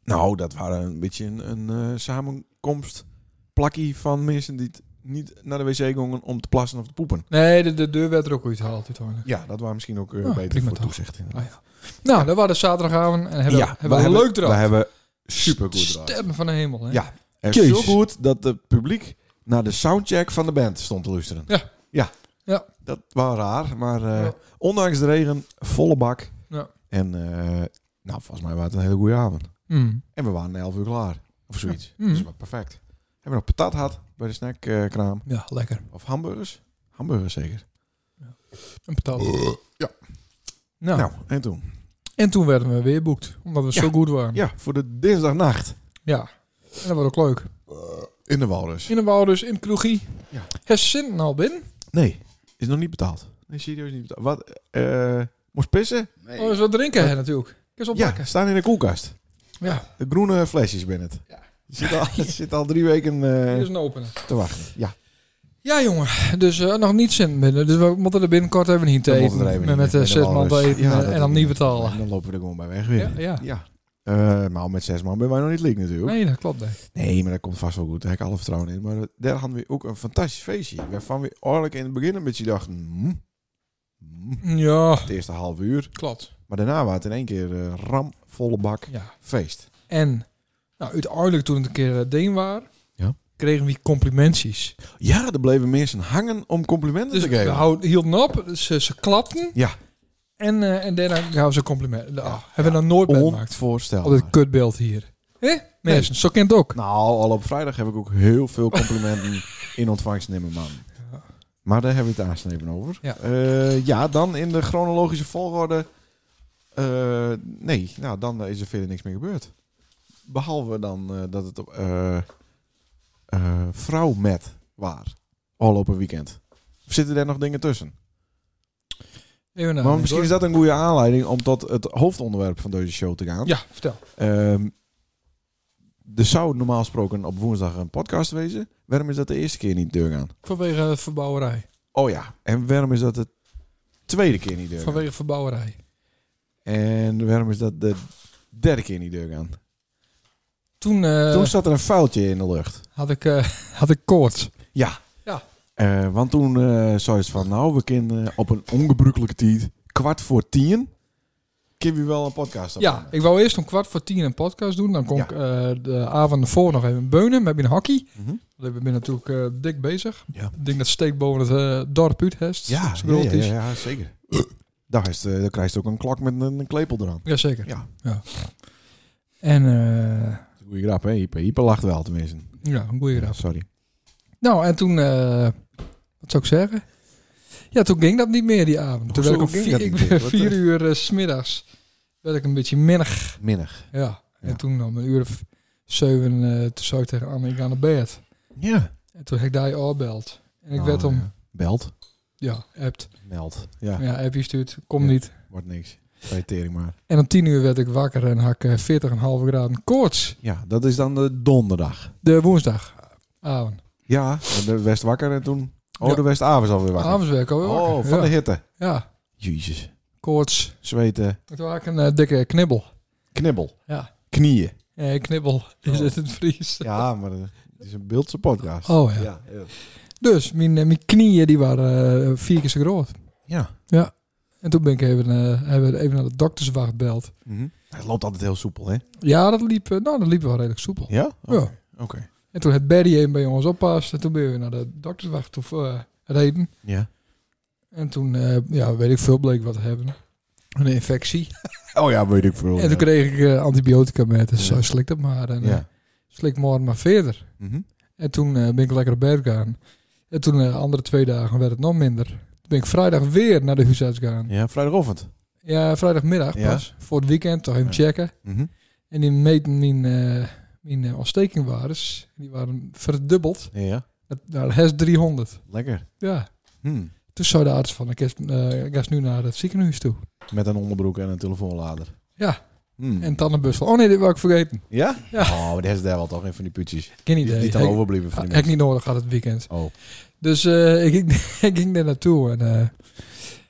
Speaker 2: Nou, dat waren een beetje een, een eh, samenkomst plakkie van mensen die t- niet naar de wc gingen om te plassen of te poepen.
Speaker 1: Nee, de, de deur werd er ook uitgehaald uiteindelijk.
Speaker 2: Ja, dat waren misschien ook eh,
Speaker 1: Ah,
Speaker 2: beter
Speaker 1: prima
Speaker 2: voor
Speaker 1: toch.
Speaker 2: toezicht. inderdaad.
Speaker 1: Ah, Nou, dat was de zaterdagavond en hebben, hebben we
Speaker 2: wij
Speaker 1: een leuk
Speaker 2: We
Speaker 1: draad.
Speaker 2: hebben supergoed draad.
Speaker 1: Sterren van de hemel, hè?
Speaker 2: Ja. En
Speaker 1: Jezus.
Speaker 2: zo goed dat het publiek naar de soundcheck van de band stond te luisteren.
Speaker 1: Ja.
Speaker 2: Ja.
Speaker 1: Ja.
Speaker 2: Dat was raar, maar eh,
Speaker 1: Ja.
Speaker 2: ondanks de regen, volle bak.
Speaker 1: Ja.
Speaker 2: En eh, nou, volgens mij was het een hele goede avond.
Speaker 1: Mm.
Speaker 2: En we waren 11 uur klaar, of zoiets.
Speaker 1: Ja. Mm.
Speaker 2: Dus wat perfect. Hebben we nog patat gehad bij de snackkraam.
Speaker 1: Ja, lekker.
Speaker 2: Of hamburgers? Hamburgers zeker.
Speaker 1: Een patat.
Speaker 2: Eh, ja.
Speaker 1: Nou,
Speaker 2: Nou, en toen?
Speaker 1: en toen werden we weer boekt, omdat we
Speaker 2: Ja.
Speaker 1: zo goed waren. Ja.
Speaker 2: Ja, voor de dinsdagnacht Eh,
Speaker 1: En dat was ook leuk.
Speaker 2: in de Walrus.
Speaker 1: In de Wouders, dus in het kroegie. nou
Speaker 2: Ja.
Speaker 1: Hes zin al binnen?
Speaker 2: Nee, is nog niet betaald. Nee, serieus niet betaald. Wat? eh, moest pissen?
Speaker 4: Nee.
Speaker 1: Oh, dus wat drinken hè, natuurlijk. Kun je ze
Speaker 2: Ja,
Speaker 1: oppakken?
Speaker 2: staan in de koelkast.
Speaker 1: Ja.
Speaker 2: De groene flesjes binnen het.
Speaker 4: Ja.
Speaker 2: Je zit al, je zit al drie weken
Speaker 1: Hier
Speaker 2: eh,
Speaker 1: is een openen.
Speaker 2: te wachten. Ja,
Speaker 1: Ja, jongen. Dus eh, nog niet zin binnen. Dus we moeten er binnenkort even niet
Speaker 2: dan
Speaker 1: eten.
Speaker 2: moeten we er even
Speaker 1: met
Speaker 2: in.
Speaker 1: met de
Speaker 2: Met
Speaker 1: zes man
Speaker 2: walrus.
Speaker 1: te eten
Speaker 2: Ja,
Speaker 1: eh,
Speaker 2: dat
Speaker 1: en
Speaker 2: doen
Speaker 1: dan
Speaker 2: we.
Speaker 1: niet betalen.
Speaker 2: En dan lopen we er gewoon bij weg
Speaker 1: Ja,
Speaker 2: weer.
Speaker 1: ja.
Speaker 2: ja. Eh, maar met zes man ben wij nog niet leek natuurlijk. Nee.
Speaker 1: Nee, dat klopt. Nee.
Speaker 2: maar dat komt vast wel goed. Daar heb ik alle vertrouwen in. Maar daar hadden we ook een fantastisch feestje. Waarvan we eigenlijk in het begin een beetje dachten... hmm, hmm,
Speaker 1: Ja,
Speaker 2: het eerste half uur.
Speaker 1: klopt.
Speaker 2: Maar daarna was het in één keer eh, ram, volle bak,
Speaker 1: Ja.
Speaker 2: feest.
Speaker 1: En nou, uiteindelijk toen het een keer eh, Deen waren,
Speaker 2: Ja.
Speaker 1: kregen we complimentjes.
Speaker 2: Ja, er bleven mensen hangen om complimenten
Speaker 1: Dus
Speaker 2: te
Speaker 1: we
Speaker 2: geven.
Speaker 1: houden, hielden op, ze, ze klapten.
Speaker 2: Ja.
Speaker 1: En, eh, en daarna gaven ze complimenten. Ah, hebben we dat nooit meegemaakt. Op
Speaker 2: Onvoorstelbaar.
Speaker 1: dit kutbeeld hier. Hé? Mensen, zo kent het ook.
Speaker 2: Nou, al op vrijdag heb ik ook heel veel complimenten in ontvangst nemen, man.
Speaker 1: Ja.
Speaker 2: Maar daar hebben we het aansneven over.
Speaker 1: Ja.
Speaker 2: Eh, ja, dan in de chronologische volgorde. eh, nee, nou, dan is er verder niks meer gebeurd. Behalve dan eh, dat het op, eh, eh, vrouw met waar. Al op een weekend. Of zitten daar nog dingen
Speaker 1: Nou,
Speaker 2: tussen?
Speaker 1: Even naar-
Speaker 2: maar misschien is dat een goede aanleiding om tot het hoofdonderwerp van deze show te gaan.
Speaker 1: Ja, vertel.
Speaker 2: Ehm, er zou normaal gesproken op woensdag een podcast wezen. Waarom is dat de eerste keer niet doorgaan?
Speaker 1: Vanwege eh, verbouwerij.
Speaker 2: Oh ja, en waarom is dat de tweede keer niet doorgaan?
Speaker 1: Vanwege verbouwerij.
Speaker 2: En waarom is dat de derde keer niet doorgaan?
Speaker 1: Toen, eh,
Speaker 2: Toen zat er een foutje in de lucht.
Speaker 1: had, ik, eh, had ik koorts.
Speaker 2: Ja.
Speaker 1: Ja.
Speaker 2: Eh, want toen eh zei ze van, nou, we kunnen op een ongebruikelijke tijd, kwart voor tien, kunnen we wel een podcast
Speaker 1: Ja, ik wou eerst om kwart voor tien een podcast doen. Dan kon
Speaker 2: Ja.
Speaker 1: ik eh, de avond ervoor nog even beunen met mijn hockey.
Speaker 2: Mhm.
Speaker 1: Want Ik ben natuurlijk eh, dik bezig.
Speaker 2: Ja.
Speaker 1: Ik denk dat steek boven het eh, dorp uit heeft.
Speaker 2: Ja,
Speaker 1: Zo
Speaker 2: ja,
Speaker 1: groot
Speaker 2: ja,
Speaker 1: is.
Speaker 2: ja, ja, zeker. Daar is, eh, dan krijg je ook een klok met een, een klepel eraan.
Speaker 1: Jazeker.
Speaker 2: Ja.
Speaker 1: En eh,
Speaker 2: Goeie grap, hè? Hyper, Hyper lacht wel, tenminste.
Speaker 1: ja, een goede grap.
Speaker 2: Sorry.
Speaker 1: Nou, en toen, eh, wat zou ik zeggen? Ja, toen ging dat niet meer die avond. Toen
Speaker 2: Hoezo
Speaker 1: werd ik om
Speaker 2: ging
Speaker 1: vier,
Speaker 2: dat
Speaker 1: ik
Speaker 2: niet
Speaker 1: ben
Speaker 2: meer? Wat,
Speaker 1: vier
Speaker 2: eh?
Speaker 1: uur eh, 's middags werd ik een beetje minnig.
Speaker 2: Minnig.
Speaker 1: Ja.
Speaker 2: Ja.
Speaker 1: En toen om een uur of zeven, eh, toen zou ik tegen Anne, ik ga naar bed.
Speaker 2: Ja.
Speaker 1: En toen heb ik daar oorbeld. En ik
Speaker 2: Oh,
Speaker 1: werd om,
Speaker 2: ja. Belt.
Speaker 1: ja, appt.
Speaker 2: Meld. Ja,
Speaker 1: Ja, appje stuurt, kom
Speaker 2: Ja.
Speaker 1: niet.
Speaker 2: wordt niks. Tering maar.
Speaker 1: En om tien uur werd ik wakker en had ik eh, 40,5 graden koorts.
Speaker 2: Ja, dat is dan de donderdag.
Speaker 1: De woensdagavond.
Speaker 2: Ja, de West wakker en toen... Oh,
Speaker 1: Ja.
Speaker 2: de Westavond alweer wakker.
Speaker 1: Avonds werd ik alweer
Speaker 2: oh,
Speaker 1: wakker.
Speaker 2: van de
Speaker 1: ja.
Speaker 2: hitte.
Speaker 1: ja,
Speaker 2: Jezus.
Speaker 1: koorts.
Speaker 2: Zweten.
Speaker 1: En Toen had ik een eh, dikke knibbel.
Speaker 2: Knibbel.
Speaker 1: Ja.
Speaker 2: Knieën.
Speaker 1: Eh, knibbel
Speaker 2: Oh.
Speaker 1: is het in het Fries.
Speaker 2: Ja, maar eh, het is een beeldse podcast.
Speaker 1: Oh ja.
Speaker 2: Ja. ja.
Speaker 1: Dus mijn, eh, mijn knieën die waren eh, vier keer zo groot.
Speaker 2: ja.
Speaker 1: En toen ben ik even, eh, hebben we even naar de dokterswacht gebeld.
Speaker 2: Mhm. Het loopt altijd heel soepel, hè?
Speaker 1: Ja, dat liep, eh, nou, dat liep wel redelijk soepel.
Speaker 2: Ja?
Speaker 1: Ja.
Speaker 2: Oké. Oké.
Speaker 1: En toen het Barry een bij ons oppast. En toen ben je weer naar de dokterswacht of eh reden.
Speaker 2: Ja.
Speaker 1: En toen, eh, ja, weet ik veel, bleek wat te hebben. Een infectie.
Speaker 2: Oh ja, weet ik veel.
Speaker 1: en toen kreeg ik eh, antibiotica met. Dus
Speaker 2: Ja.
Speaker 1: zo slik dat maar. En eh,
Speaker 2: ja. Ja.
Speaker 1: slik morgen maar verder.
Speaker 2: Mhm.
Speaker 1: En toen eh, ben ik lekker op bed gegaan. En toen de andere twee dagen werd het nog minder. Toen ben ik vrijdag weer naar de huisarts gegaan.
Speaker 2: ja, vrijdagochtend.
Speaker 1: Ja, vrijdagmiddag
Speaker 2: Ja.
Speaker 1: pas. Voor het weekend, toch even
Speaker 2: Ja.
Speaker 1: checken.
Speaker 2: Mhm.
Speaker 1: En die meten mijn, eh mijn eh, ontstekingwaardes. Die waren verdubbeld
Speaker 2: Ja,
Speaker 1: naar HES 300.
Speaker 2: lekker.
Speaker 1: Ja.
Speaker 2: Hm.
Speaker 1: Toen zei de arts van, ik is- eh, ik ga nu naar het ziekenhuis toe.
Speaker 2: Met een onderbroek en een telefoonlader.
Speaker 1: Ja.
Speaker 2: Hm.
Speaker 1: En dan een bus van, oh nee, dit wil ik vergeten.
Speaker 2: Ja?
Speaker 1: Ja.
Speaker 2: Oh, maar dat is daar wel toch een van die putjes.
Speaker 1: Geen
Speaker 2: Die,
Speaker 1: idee.
Speaker 2: die dan
Speaker 1: Heb ik-
Speaker 2: overblijven van die
Speaker 1: heb ik
Speaker 2: mensen.
Speaker 1: niet nodig had het weekend.
Speaker 2: Oh.
Speaker 1: Dus eh, ik, ging, ik ging daar naartoe. En eh,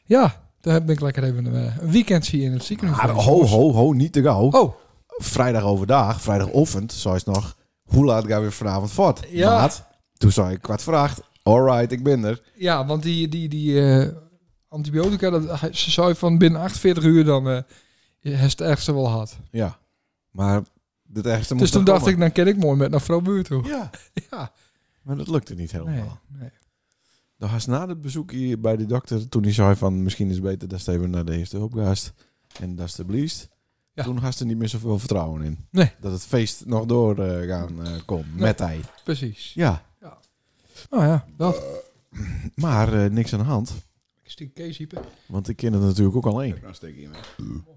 Speaker 1: ja, toen heb ik lekker even eh, een weekend hier in het ziekenhuis.
Speaker 2: Maar
Speaker 1: geweest.
Speaker 2: ho, ho, ho, niet te gauw.
Speaker 1: Oh,
Speaker 2: Vrijdag overdag, vrijdagochtend, zei ze nog... Hoe laat gaan we vanavond voort?
Speaker 1: Ja.
Speaker 2: Maat, toen zei ik kwart voor acht. Alright, ik ben er.
Speaker 1: ja, want die, die, die eh, antibiotica, dat, ze zei van binnen 48 uur dan... eh je hebt het ergste wel gehad.
Speaker 2: Ja. Maar dit ergste
Speaker 1: Dus
Speaker 2: moest
Speaker 1: toen
Speaker 2: nog
Speaker 1: dacht ik,
Speaker 2: komen.
Speaker 1: dan ken ik mooi met naar vrouw Buur toe.
Speaker 2: Ja.
Speaker 1: Ja.
Speaker 2: Maar dat lukte niet helemaal.
Speaker 1: Nee, nee.
Speaker 2: Dan was na het bezoek hier bij de dokter, toen hij zei van misschien is het beter dat ze even naar de eerste hulp gaat en dat is de bliest.
Speaker 1: Ja.
Speaker 2: Toen had ze er niet meer zoveel vertrouwen in.
Speaker 1: Nee.
Speaker 2: Dat het feest nog door eh, gaan eh komt met hij.
Speaker 1: Precies.
Speaker 2: Ja,
Speaker 1: Nou ja, dat.
Speaker 2: maar eh, niks aan de hand,
Speaker 1: Ik stiek Kees hyper.
Speaker 2: want ik ken het natuurlijk ook alleen.
Speaker 4: Nou, steek hiermee.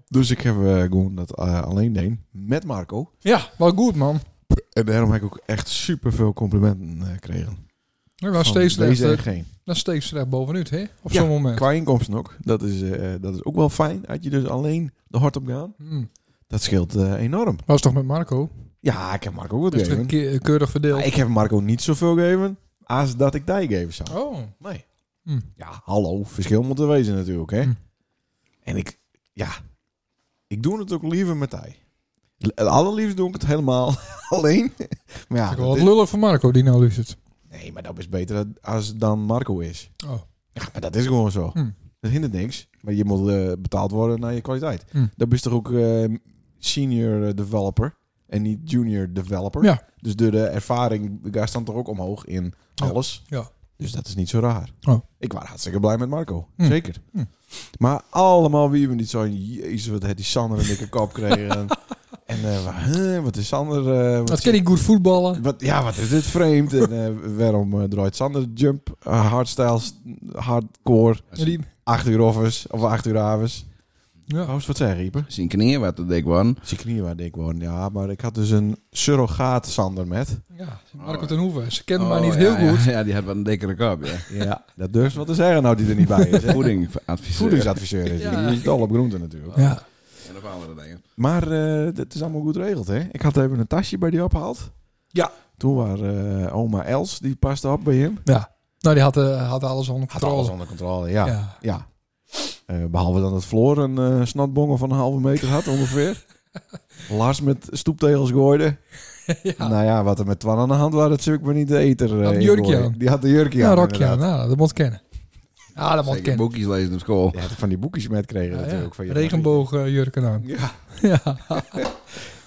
Speaker 2: Dus ik heb eh, gewoon dat eh, alleen deed met Marco.
Speaker 1: Ja, wel goed man.
Speaker 2: En daarom heb ik ook echt super veel complimenten eh, gekregen.
Speaker 1: We
Speaker 2: Van
Speaker 1: was steeds recht,
Speaker 2: deze en
Speaker 1: eh,
Speaker 2: geen.
Speaker 1: dan steeds recht bovenuit, hè? Op
Speaker 2: Ja,
Speaker 1: zo'n moment.
Speaker 2: Qua inkomsten ook. Dat is, eh, dat is ook wel fijn. Had je dus alleen de hart op gaan.
Speaker 1: Hmm.
Speaker 2: Dat scheelt eh, enorm.
Speaker 1: Was toch met Marco?
Speaker 2: Ja, ik heb Marco ook wat
Speaker 1: Dus
Speaker 2: gegeven.
Speaker 1: een keer keurig verdeeld.
Speaker 2: Maar ik heb Marco niet zoveel gegeven als dat ik die geven zou.
Speaker 1: Oh.
Speaker 2: Nee.
Speaker 1: Hm.
Speaker 2: Ja, hallo. Verschil moet er wezen natuurlijk, hè.
Speaker 1: Hm.
Speaker 2: En ik, ja. Ik doe het ook liever met die. L- Het allerliefst doe ik het helemaal alleen. maar ja,
Speaker 1: ik
Speaker 2: Ah, dat
Speaker 1: wel
Speaker 2: is-
Speaker 1: wat lullig voor Marco die nou luistert.
Speaker 2: nee, maar dat is beter als dan Marco is.
Speaker 1: Oh.
Speaker 2: Ja, maar dat is gewoon zo.
Speaker 1: Hm.
Speaker 2: Dat hindert niks. Maar je moet eh, betaald worden naar je kwaliteit.
Speaker 1: Hm.
Speaker 2: Dat is toch ook eh, senior eh, developer en niet junior developer.
Speaker 1: Ja.
Speaker 2: Dus door de ervaring, daar staan toch ook omhoog in
Speaker 1: Ja.
Speaker 2: alles.
Speaker 1: Ja.
Speaker 2: Dus dat is niet zo raar.
Speaker 1: Oh.
Speaker 2: Ik was hartstikke blij met Marco.
Speaker 1: Hm.
Speaker 2: Zeker.
Speaker 1: Hm.
Speaker 2: Maar allemaal wie we niet zo, jezus, wat heeft die Sander een dikke kop kregen. en eh, wa- huh, wat is Sander? eh, wat
Speaker 1: Dat kan hij goed voetballen.
Speaker 2: wat, ja, wat is dit vreemd? En eh, waarom eh, draait Sander jump, eh, hardstyle, st- hardcore,
Speaker 1: Ja, die,
Speaker 2: 8 uur offers of 8 uur avonds?
Speaker 1: ja.
Speaker 2: Trouwens, wat zei Rieper?
Speaker 4: Zijn knieën wat te dik waren.
Speaker 2: Zie ik niet waar ik woon. Ja, maar ik had dus een surrogaat Sander met.
Speaker 1: ja.
Speaker 4: Oh,
Speaker 1: Marco
Speaker 4: ja.
Speaker 1: ten Hoeven. Ze kennen mij
Speaker 4: Oh,
Speaker 1: niet
Speaker 4: ja,
Speaker 1: heel
Speaker 4: ja.
Speaker 1: goed.
Speaker 4: Ja, die had wat een dikkere kop, ja.
Speaker 2: Ja. Dat durft wat te zeggen nou die er niet bij is. hè?
Speaker 4: Voeding adviseur.
Speaker 2: Voedingsadviseur is die.
Speaker 1: Ja.
Speaker 2: Die is dol op groenten natuurlijk.
Speaker 1: Ja.
Speaker 4: En nog andere dingen.
Speaker 2: Maar eh het is allemaal goed geregeld, hè? Ik had even een tasje bij die opgehaald.
Speaker 1: Ja.
Speaker 2: Toen waren eh, oma Els, die paste op bij hem.
Speaker 1: Nou, die had, eh, had alles onder
Speaker 2: Had
Speaker 1: controle.
Speaker 2: alles onder controle, ja. ja.
Speaker 1: ja.
Speaker 2: Eh, behalve dan dat Floor een eh snotbongel van een halve meter had, ongeveer. Lars met stoeptegels gooide.
Speaker 1: Ja.
Speaker 2: Nou ja, wat er met Twan aan de hand was, dat zul ik maar niet de eter. eh,
Speaker 1: Had een jurkje
Speaker 2: ingooien.
Speaker 1: aan.
Speaker 2: Die had de jurkje
Speaker 1: Ja,
Speaker 2: aan.
Speaker 1: Rokje,
Speaker 2: inderdaad.
Speaker 1: nou, dat moet kennen. Ja, dat moet
Speaker 4: Zeker
Speaker 1: kennen.
Speaker 4: boekjes lezen op school.
Speaker 2: Die had van die boekjes met kregen
Speaker 1: Ja, ja.
Speaker 2: natuurlijk. Van je
Speaker 1: Regenboogjurken aan.
Speaker 2: Ja.
Speaker 1: Ja.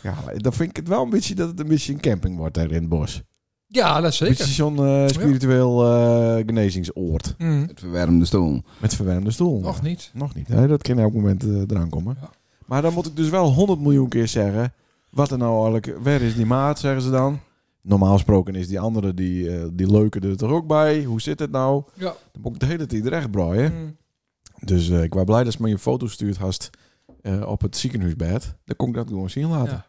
Speaker 2: Ja, maar dan vind ik het wel een beetje dat het een beetje een camping wordt daar in het bos. Een
Speaker 1: ja, dat
Speaker 2: beetje
Speaker 1: zeker.
Speaker 2: zo'n eh, spiritueel eh, genezingsoord.
Speaker 1: Mm.
Speaker 4: Het verwarmde stoel.
Speaker 2: Met verwarmde stoel.
Speaker 1: Nog niet.
Speaker 2: Nog niet. Hè? Dat kan elk moment eh, eraan komen.
Speaker 1: Ja.
Speaker 2: Maar dan moet ik dus wel 100 miljoen keer zeggen. Wat er nou eigenlijk. Waar is die maat, zeggen ze dan? Normaal gesproken is die andere, die, eh, die leuke er toch ook bij. Hoe zit het nou?
Speaker 1: Ja.
Speaker 2: Dan moet ik de hele tijd recht braaien.
Speaker 1: Mm.
Speaker 2: Dus eh, ik was blij dat ze me je foto stuurt hast eh, op het ziekenhuisbed. Dan kon ik dat gewoon zien laten.
Speaker 1: Ja.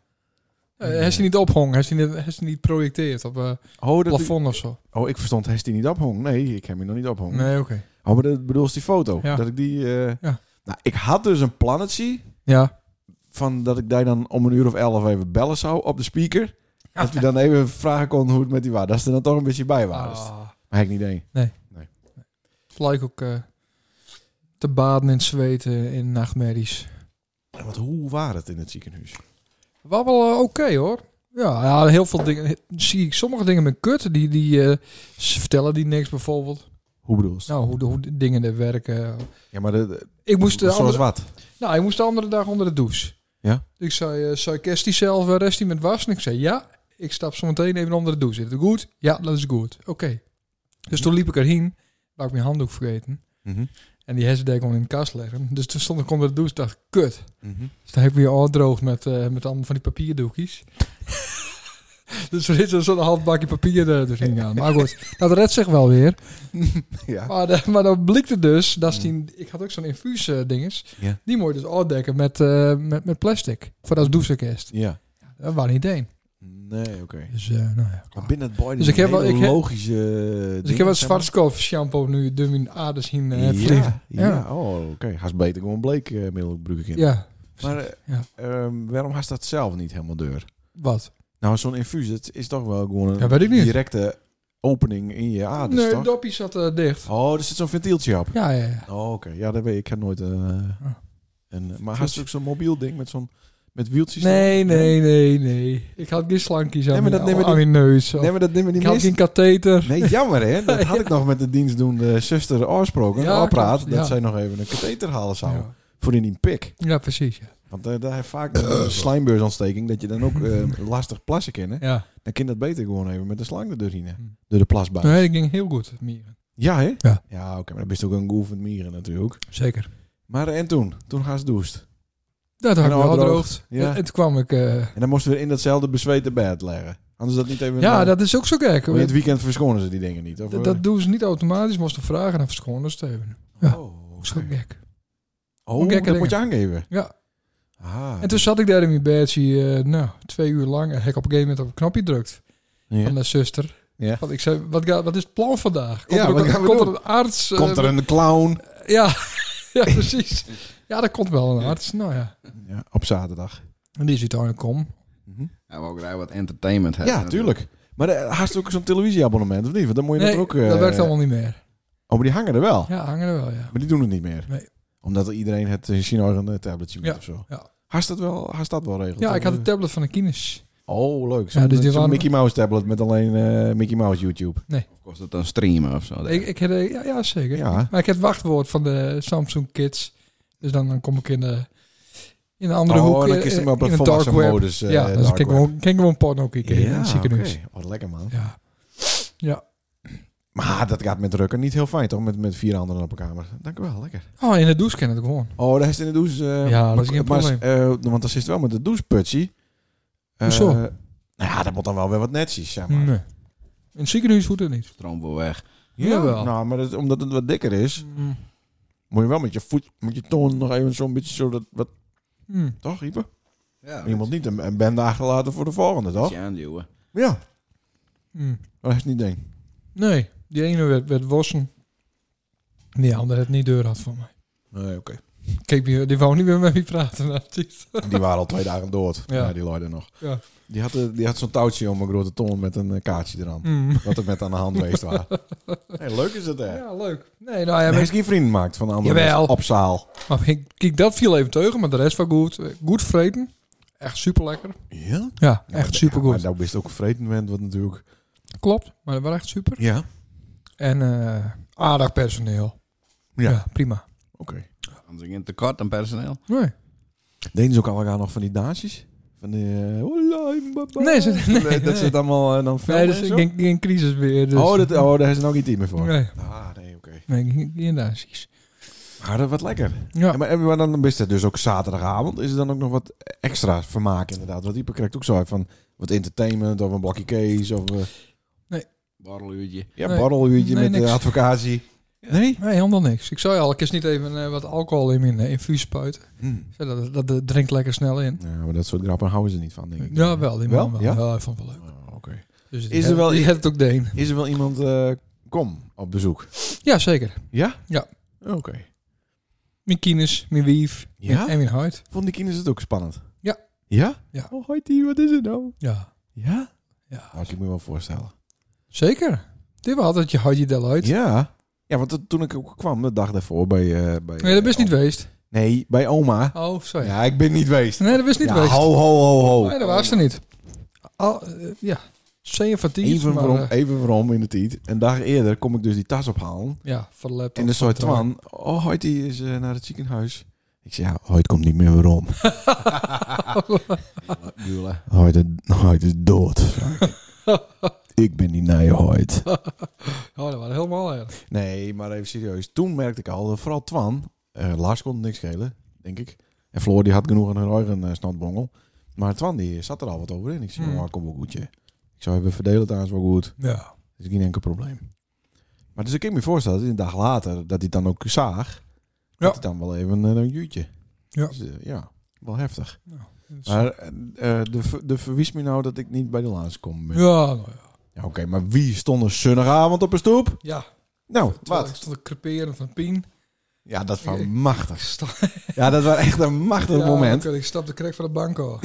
Speaker 1: Eh, Hij is niet ophangen, hij is niet, hij is niet projecteerd op eh,
Speaker 2: Oh, dat
Speaker 1: plafond of zo.
Speaker 2: oh, ik verstond, hij is die niet ophong. Nee, ik heb hem nog niet ophong.
Speaker 1: Nee, oké.
Speaker 2: Oh, maar dat bedoelst die foto.
Speaker 1: Ja.
Speaker 2: Dat ik die... eh,
Speaker 1: Ja.
Speaker 2: Nou, ik had dus een plannetje
Speaker 1: Ja.
Speaker 2: van dat ik daar dan om een uur of elf even bellen zou op de speaker. Dat we dan even vragen kon hoe het met die was. Dat ze er dan toch een beetje bij waren.
Speaker 1: Ah,
Speaker 2: Maar heb ik niet één.
Speaker 1: het lijkt ook eh, te baden in het zweet, eh, in nachtmerries.
Speaker 2: Want hoe was het in het ziekenhuis?
Speaker 1: Wel wel eh, oké hoor. Ja, ja, heel veel dingen. Zie ik sommige dingen met kut. Die, die eh, ze vertellen die niks bijvoorbeeld.
Speaker 2: Hoe bedoelst?
Speaker 1: Nou, hoe de, hoe de dingen er werken.
Speaker 2: Ja, maar de, de-
Speaker 1: Ik moest de,
Speaker 2: zoals
Speaker 1: andere,
Speaker 2: wat?
Speaker 1: nou, ik moest de andere dag onder de douche.
Speaker 2: Ja.
Speaker 1: Ik zei, eh zei Kerst zelf, eh, rest die met was? En ik zei, ja, ik stap zo meteen even onder de douche. Is het goed? Ja, dat is goed. Oké. Dus toen liep ik erheen. Laat ik mijn handdoek vergeten.
Speaker 2: Mhm.
Speaker 1: En die hersendek gewoon in de kast leggen. Dus toen stond ik onder de douche dacht ik, kut.
Speaker 2: Mhm.
Speaker 1: Dus dan heb ik weer al droog met, eh, met allemaal van die papierdoekjes. dus er zit zo'n half bakje papier eh, er doorheen aan. Maar goed, dat redt zich wel weer.
Speaker 2: Ja. Mm.
Speaker 1: Maar, de- maar dan blikte dus, dat is die, ik had ook zo'n infuus eh, dinges.
Speaker 2: Ja.
Speaker 1: Die moet je dus afdekken met, eh, met, met plastic. Voor als douchekast.
Speaker 2: Ja.
Speaker 1: Dat was niet één.
Speaker 2: Nee, oké.
Speaker 1: Dus, eh, nou ja, klaar.
Speaker 2: Maar binnen het boy
Speaker 1: Dus ik heb wel- ik heb-
Speaker 2: logische
Speaker 1: dus ik heb wat zwartskoof shampoo nu door mijn aders heen eh vliegen.
Speaker 2: ja, ja. oh, oké. Haast beter gewoon bleek eh middelbruik in.
Speaker 1: Ja,
Speaker 2: Maar eh,
Speaker 1: Ja.
Speaker 2: ehm, waarom haast dat zelf niet helemaal deur?
Speaker 1: wat?
Speaker 2: Nou, zo'n infuus, dat is toch wel gewoon een
Speaker 1: Ja, weet ik niet.
Speaker 2: directe opening in je aders,
Speaker 1: nee,
Speaker 2: toch?
Speaker 1: het dopje zat eh, dicht.
Speaker 2: Oh, er zit zo'n ventieltje op.
Speaker 1: Ja, Ah. ja, ja.
Speaker 2: Oh, oké. Ja, dat weet ik. Ik heb nooit eh, een... Maar haast ook zo'n mobiel ding met zo'n... Met wieltjes?
Speaker 1: Nee, nee, nee, nee. Ik had geen slankjes aan,
Speaker 2: Nee, maar
Speaker 1: mijn-
Speaker 2: dat nemen
Speaker 1: aan
Speaker 2: die-
Speaker 1: mijn neus. of-
Speaker 2: Nee, maar dat nemen die
Speaker 1: Ik had
Speaker 2: mensen...
Speaker 1: geen katheter.
Speaker 2: Nee, jammer hè. Dat had ik nog met de dienstdoende zuster afgesproken.
Speaker 1: Ja,
Speaker 2: Ja, praat.
Speaker 1: klopt,
Speaker 2: Dat
Speaker 1: ja.
Speaker 2: zij nog even een katheter halen zou.
Speaker 1: Ja.
Speaker 2: Voor in die pik.
Speaker 1: Ja, precies. Ja.
Speaker 2: Want eh, daar heeft vaak een slijmbeursontsteking. Dat je dan ook eh, lastig plassen kan. hè.
Speaker 1: Ja.
Speaker 2: Dan kan dat beter gewoon even met een slang erdoor heen. hè.
Speaker 1: Hmm.
Speaker 2: Door de plasbuis.
Speaker 1: Nee, dat ging heel goed, Mieren.
Speaker 2: Ja hè?
Speaker 1: Ja.
Speaker 2: oké. maar dan bist ook een geoefend mieren natuurlijk.
Speaker 1: Zeker.
Speaker 2: Maar eh, en toen? Toen gaan ze doucht.
Speaker 1: Dat had
Speaker 2: En
Speaker 1: ik wel
Speaker 2: al
Speaker 1: droogd.
Speaker 2: Ja.
Speaker 1: En, en toen kwam ik... eh,
Speaker 2: En dan moesten we in datzelfde bezweten bed leggen. Anders dat niet even...
Speaker 1: ja,
Speaker 2: eh,
Speaker 1: dat is ook zo gek.
Speaker 2: maar in het
Speaker 1: Dat,
Speaker 2: weekend verschonen ze die dingen niet. Of, eh?
Speaker 1: dat doen ze niet automatisch. Moesten vragen of schooners te hebben. ja.
Speaker 2: Oh, oké.
Speaker 1: Zo gek.
Speaker 2: oh
Speaker 1: gekke
Speaker 2: dat
Speaker 1: dingen.
Speaker 2: moet je aangeven.
Speaker 1: Ja.
Speaker 2: Ah.
Speaker 1: En toen zat ik daar in mijn bedje, eh, nou, twee uur lang. En heb ik op een gegeven moment op een knopje drukt.
Speaker 2: Ja.
Speaker 1: Van de zuster.
Speaker 2: Ja.
Speaker 1: Want ik zei, wat, ga- wat is het plan vandaag? Komt
Speaker 2: Ja,
Speaker 1: er, ook
Speaker 2: wat
Speaker 1: een-
Speaker 2: gaan we
Speaker 1: komt er
Speaker 2: doen?
Speaker 1: een arts? eh,
Speaker 2: Komt er een clown?
Speaker 1: Ja, ja, precies. Ja, er komt wel een arts. Nou ja.
Speaker 2: Ja, op zaterdag. Mhm.
Speaker 1: En die is uiteindelijk om.
Speaker 4: Hij wou ook graag wat entertainment hebben.
Speaker 2: Ja, tuurlijk. Maar eh, haast ook zo'n televisieabonnement, of niet? Want dan moet je
Speaker 1: Nee,
Speaker 2: dat ook... eh,
Speaker 1: dat werkt allemaal niet meer.
Speaker 2: Oh, maar die hangen er wel.
Speaker 1: Ja, hangen er wel, ja.
Speaker 2: Maar die doen het niet meer.
Speaker 1: Nee.
Speaker 2: Omdat iedereen het in China een eh, tabletje moet
Speaker 1: Ja,
Speaker 2: of zo.
Speaker 1: ja.
Speaker 2: Haast dat wel, haast dat wel regeld?
Speaker 1: Ja, ik had een
Speaker 2: het...
Speaker 1: tablet van de kines.
Speaker 2: Oh, leuk.
Speaker 1: Ja,
Speaker 2: Zo'n
Speaker 1: dus die
Speaker 2: zo'n
Speaker 1: waren-
Speaker 2: Mickey Mouse tablet met alleen eh, Mickey Mouse YouTube.
Speaker 4: Of kost het dan streamen of zo?
Speaker 1: Ik, ik had, eh, ja, ja, zeker.
Speaker 2: Ja.
Speaker 1: Maar ik heb het wachtwoord van de Samsung Kids. Dus dan, dan kom ik in de, in een andere
Speaker 2: oh,
Speaker 1: hoek.
Speaker 2: dan
Speaker 1: eh,
Speaker 2: kies
Speaker 1: eh,
Speaker 2: hem op
Speaker 1: in
Speaker 2: een
Speaker 1: het dark
Speaker 2: volwassen
Speaker 1: web.
Speaker 2: modus. eh,
Speaker 1: ja, dus ik
Speaker 2: dark
Speaker 1: kijk
Speaker 2: web.
Speaker 1: gewoon, kijk gewoon porno kijken in het
Speaker 2: Ja,
Speaker 1: ziekenhuis.
Speaker 2: oké. Wat lekker, man.
Speaker 1: Ja. ja.
Speaker 2: Maar dat gaat met drukken niet heel fijn, toch? Met, met vier anderen op een kamer. Dank u wel, lekker.
Speaker 1: Oh, in de douche ken ik het gewoon.
Speaker 2: Oh, daar is het in de douche. eh,
Speaker 1: Ja, dat is
Speaker 2: maar-
Speaker 1: geen
Speaker 2: maar,
Speaker 1: probleem.
Speaker 2: eh, want dan zit het wel met de doucheputje. Eh,
Speaker 1: Hoezo?
Speaker 2: nou ja, dat moet dan wel weer wat netjes, zeg maar.
Speaker 1: Nee. In het ziekenhuis hoeft het niet.
Speaker 4: Stroom wel weg.
Speaker 2: Ja,
Speaker 1: Jawel.
Speaker 2: nou, maar dat, omdat het wat dikker is,
Speaker 1: Mm.
Speaker 2: moet je wel met je voet, met je toon nog even zo'n beetje zo dat, wat,
Speaker 1: Mm.
Speaker 2: toch, Ieper?
Speaker 4: Ja,
Speaker 2: Iemand niet een, een bende achterlaten voor de volgende, toch?
Speaker 4: je aanduwen.
Speaker 2: Ja,
Speaker 1: Mm.
Speaker 2: dat is Oh, niet ding.
Speaker 1: Nee, die ene werd, werd wassen. En Die andere het niet deur had van mij.
Speaker 2: Nee, oké.
Speaker 1: Kijk, die die wou niet meer met me praten. nou, het is-
Speaker 2: Die waren al twee dagen dood,
Speaker 1: Ja.
Speaker 2: ja. die luiden nog.
Speaker 1: Ja.
Speaker 2: Die had, eh, die had zo'n touwtje om een grote toon met een eh, kaartje eraan.
Speaker 1: Mm.
Speaker 2: Wat er met aan de hand geweest was. Hey, leuk is het, hè?
Speaker 1: Ja, leuk. Nee, nou ja,
Speaker 2: En
Speaker 1: maar-
Speaker 2: mensen die vrienden maakt van de andere
Speaker 1: Jawel.
Speaker 2: mensen op zaal.
Speaker 1: Maar ik- kijk, dat viel even teugen, maar de rest was goed. Eh, Goed vreten. echt super lekker.
Speaker 2: Nou, Ja?
Speaker 1: Ja,
Speaker 2: maar
Speaker 1: echt
Speaker 2: da-
Speaker 1: super
Speaker 2: Maar
Speaker 1: goed.
Speaker 2: daar best ook vreten bent, wat natuurlijk...
Speaker 1: Klopt, maar dat was echt super.
Speaker 2: Ja.
Speaker 1: En eh, aardig personeel.
Speaker 2: Ja.
Speaker 1: prima.
Speaker 2: Oké.
Speaker 4: Anders ging het tekort aan personeel.
Speaker 1: Nee.
Speaker 2: Deden ze ook allemaal nog van die dansjes? Van die... eh, hola, baba.
Speaker 1: Nee, ze- nee,
Speaker 2: Dat
Speaker 1: nee.
Speaker 2: ze het allemaal eh, dan
Speaker 1: Nee,
Speaker 2: filmen
Speaker 1: dus
Speaker 2: en zo?
Speaker 1: geen, geen crisis meer. Dus.
Speaker 2: oh, dat, oh, daar is nog geen team meer voor.
Speaker 1: Nee,
Speaker 2: Ah, nee, oké.
Speaker 1: nee, geen, geen nazi's.
Speaker 2: Maar dat wat lekker.
Speaker 1: Ja.
Speaker 2: Ja, maar, maar dan is het dus ook zaterdagavond. Is er dan ook nog wat extra vermaak inderdaad? Want Ieper krijgt ook zo uit van wat entertainment of een blokje case of eh
Speaker 4: Borreluurtje.
Speaker 2: ja,
Speaker 1: Nee.
Speaker 2: borreluurtje
Speaker 1: Nee,
Speaker 2: met
Speaker 1: niks.
Speaker 2: de advocatie. Nee?
Speaker 1: Nee, helemaal niks. Ik zou je al, ik is niet even eh, wat alcohol in mijn eh, infuus spuiten.
Speaker 2: Hm.
Speaker 1: Zo, Dat, dat, dat drinkt lekker snel in.
Speaker 2: Ja, maar dat soort grappen houden ze niet van, denk ik.
Speaker 1: Ja, wel. Die man
Speaker 2: Wel?
Speaker 1: wel.
Speaker 2: Ja?
Speaker 1: Ja, ik vond het wel leuk.
Speaker 2: Oh, Oké.
Speaker 1: Dus
Speaker 2: Is er wel-
Speaker 1: Je hebt het ook deen.
Speaker 2: Is er wel iemand eh, kom op bezoek?
Speaker 1: Ja, zeker.
Speaker 2: Ja?
Speaker 1: Ja.
Speaker 2: Oké.
Speaker 1: Mijn kines, mijn wief
Speaker 2: Ja?
Speaker 1: en mijn huid.
Speaker 2: Vonden die kinderen het ook spannend?
Speaker 1: Ja.
Speaker 2: Ja?
Speaker 1: Ja.
Speaker 2: Oh, hoi Tien, wat is het nou?
Speaker 1: Ja.
Speaker 2: Ja?
Speaker 1: ja.
Speaker 2: Nou, ik moet me wel voorstellen.
Speaker 1: Zeker. Dit was altijd je huidje del uit.
Speaker 2: Ja. Ja, want dat- toen ik ook kwam, de dag daarvoor bij... eh, bij
Speaker 1: Nee, dat is niet
Speaker 2: eh,
Speaker 1: geweest.
Speaker 2: Nee, bij oma.
Speaker 1: Oh, sorry.
Speaker 2: Ja, ik ben niet geweest.
Speaker 1: Nee, dat is niet
Speaker 2: ja,
Speaker 1: geweest. Oh,
Speaker 2: ho, ho, ho, ho.
Speaker 1: Nee, dat was er niet. Al, eh, ja. 7 van 10.
Speaker 2: Even
Speaker 1: maar,
Speaker 2: waarom,
Speaker 1: eh,
Speaker 2: even waarom in de tijd. Een dag eerder kom ik dus die tas ophalen.
Speaker 1: ja, voor de laptop.
Speaker 2: En dan zei Twan, oh, Hoyt die is eh, naar het ziekenhuis. Ik zei, ja, Hoyt komt niet meer waarom.
Speaker 4: Jule.
Speaker 2: Hoyt, Hoyt is dood. zei ik. ik ben niet naar je Hoyt.
Speaker 1: Oh, dat was helemaal erg.
Speaker 2: Nee, maar even serieus. Toen merkte ik al, dat vooral Twan, eh, Lars kon het niks schelen, denk ik. En Floor die had genoeg aan hun eigen eh, snotbongel. Maar Twan die zat er al wat over in. Ik zei,
Speaker 1: Hmm.
Speaker 2: oh, kom wel goed, je. Ik zou even verdelen trouwens wel goed.
Speaker 1: Ja.
Speaker 2: Dus geen enkel probleem. Maar dus ik kan me voorstellen dat een dag later dat hij het dan ook zaag, dat hij dan wel even eh, een juurtje.
Speaker 1: Ja.
Speaker 2: Dus, eh, ja, wel heftig.
Speaker 1: Dus-
Speaker 2: Maar eh, eh, de, ver- de verwies me nou dat ik niet bij de laatste kom. ben. Ja.
Speaker 1: ja, nou ja.
Speaker 2: Oké, maar wie stond een zonnigavond op een stoep?
Speaker 1: Ja,
Speaker 2: Nou,
Speaker 1: terwijl ik
Speaker 2: wat?
Speaker 1: stond te creperen van Pien.
Speaker 2: Ja, dat was
Speaker 1: Ik-
Speaker 2: machtig.
Speaker 1: Sta-
Speaker 2: Ja, dat was echt een machtig
Speaker 1: Ja,
Speaker 2: Ah, moment.
Speaker 1: oké, Ik stapte krek van de bank al.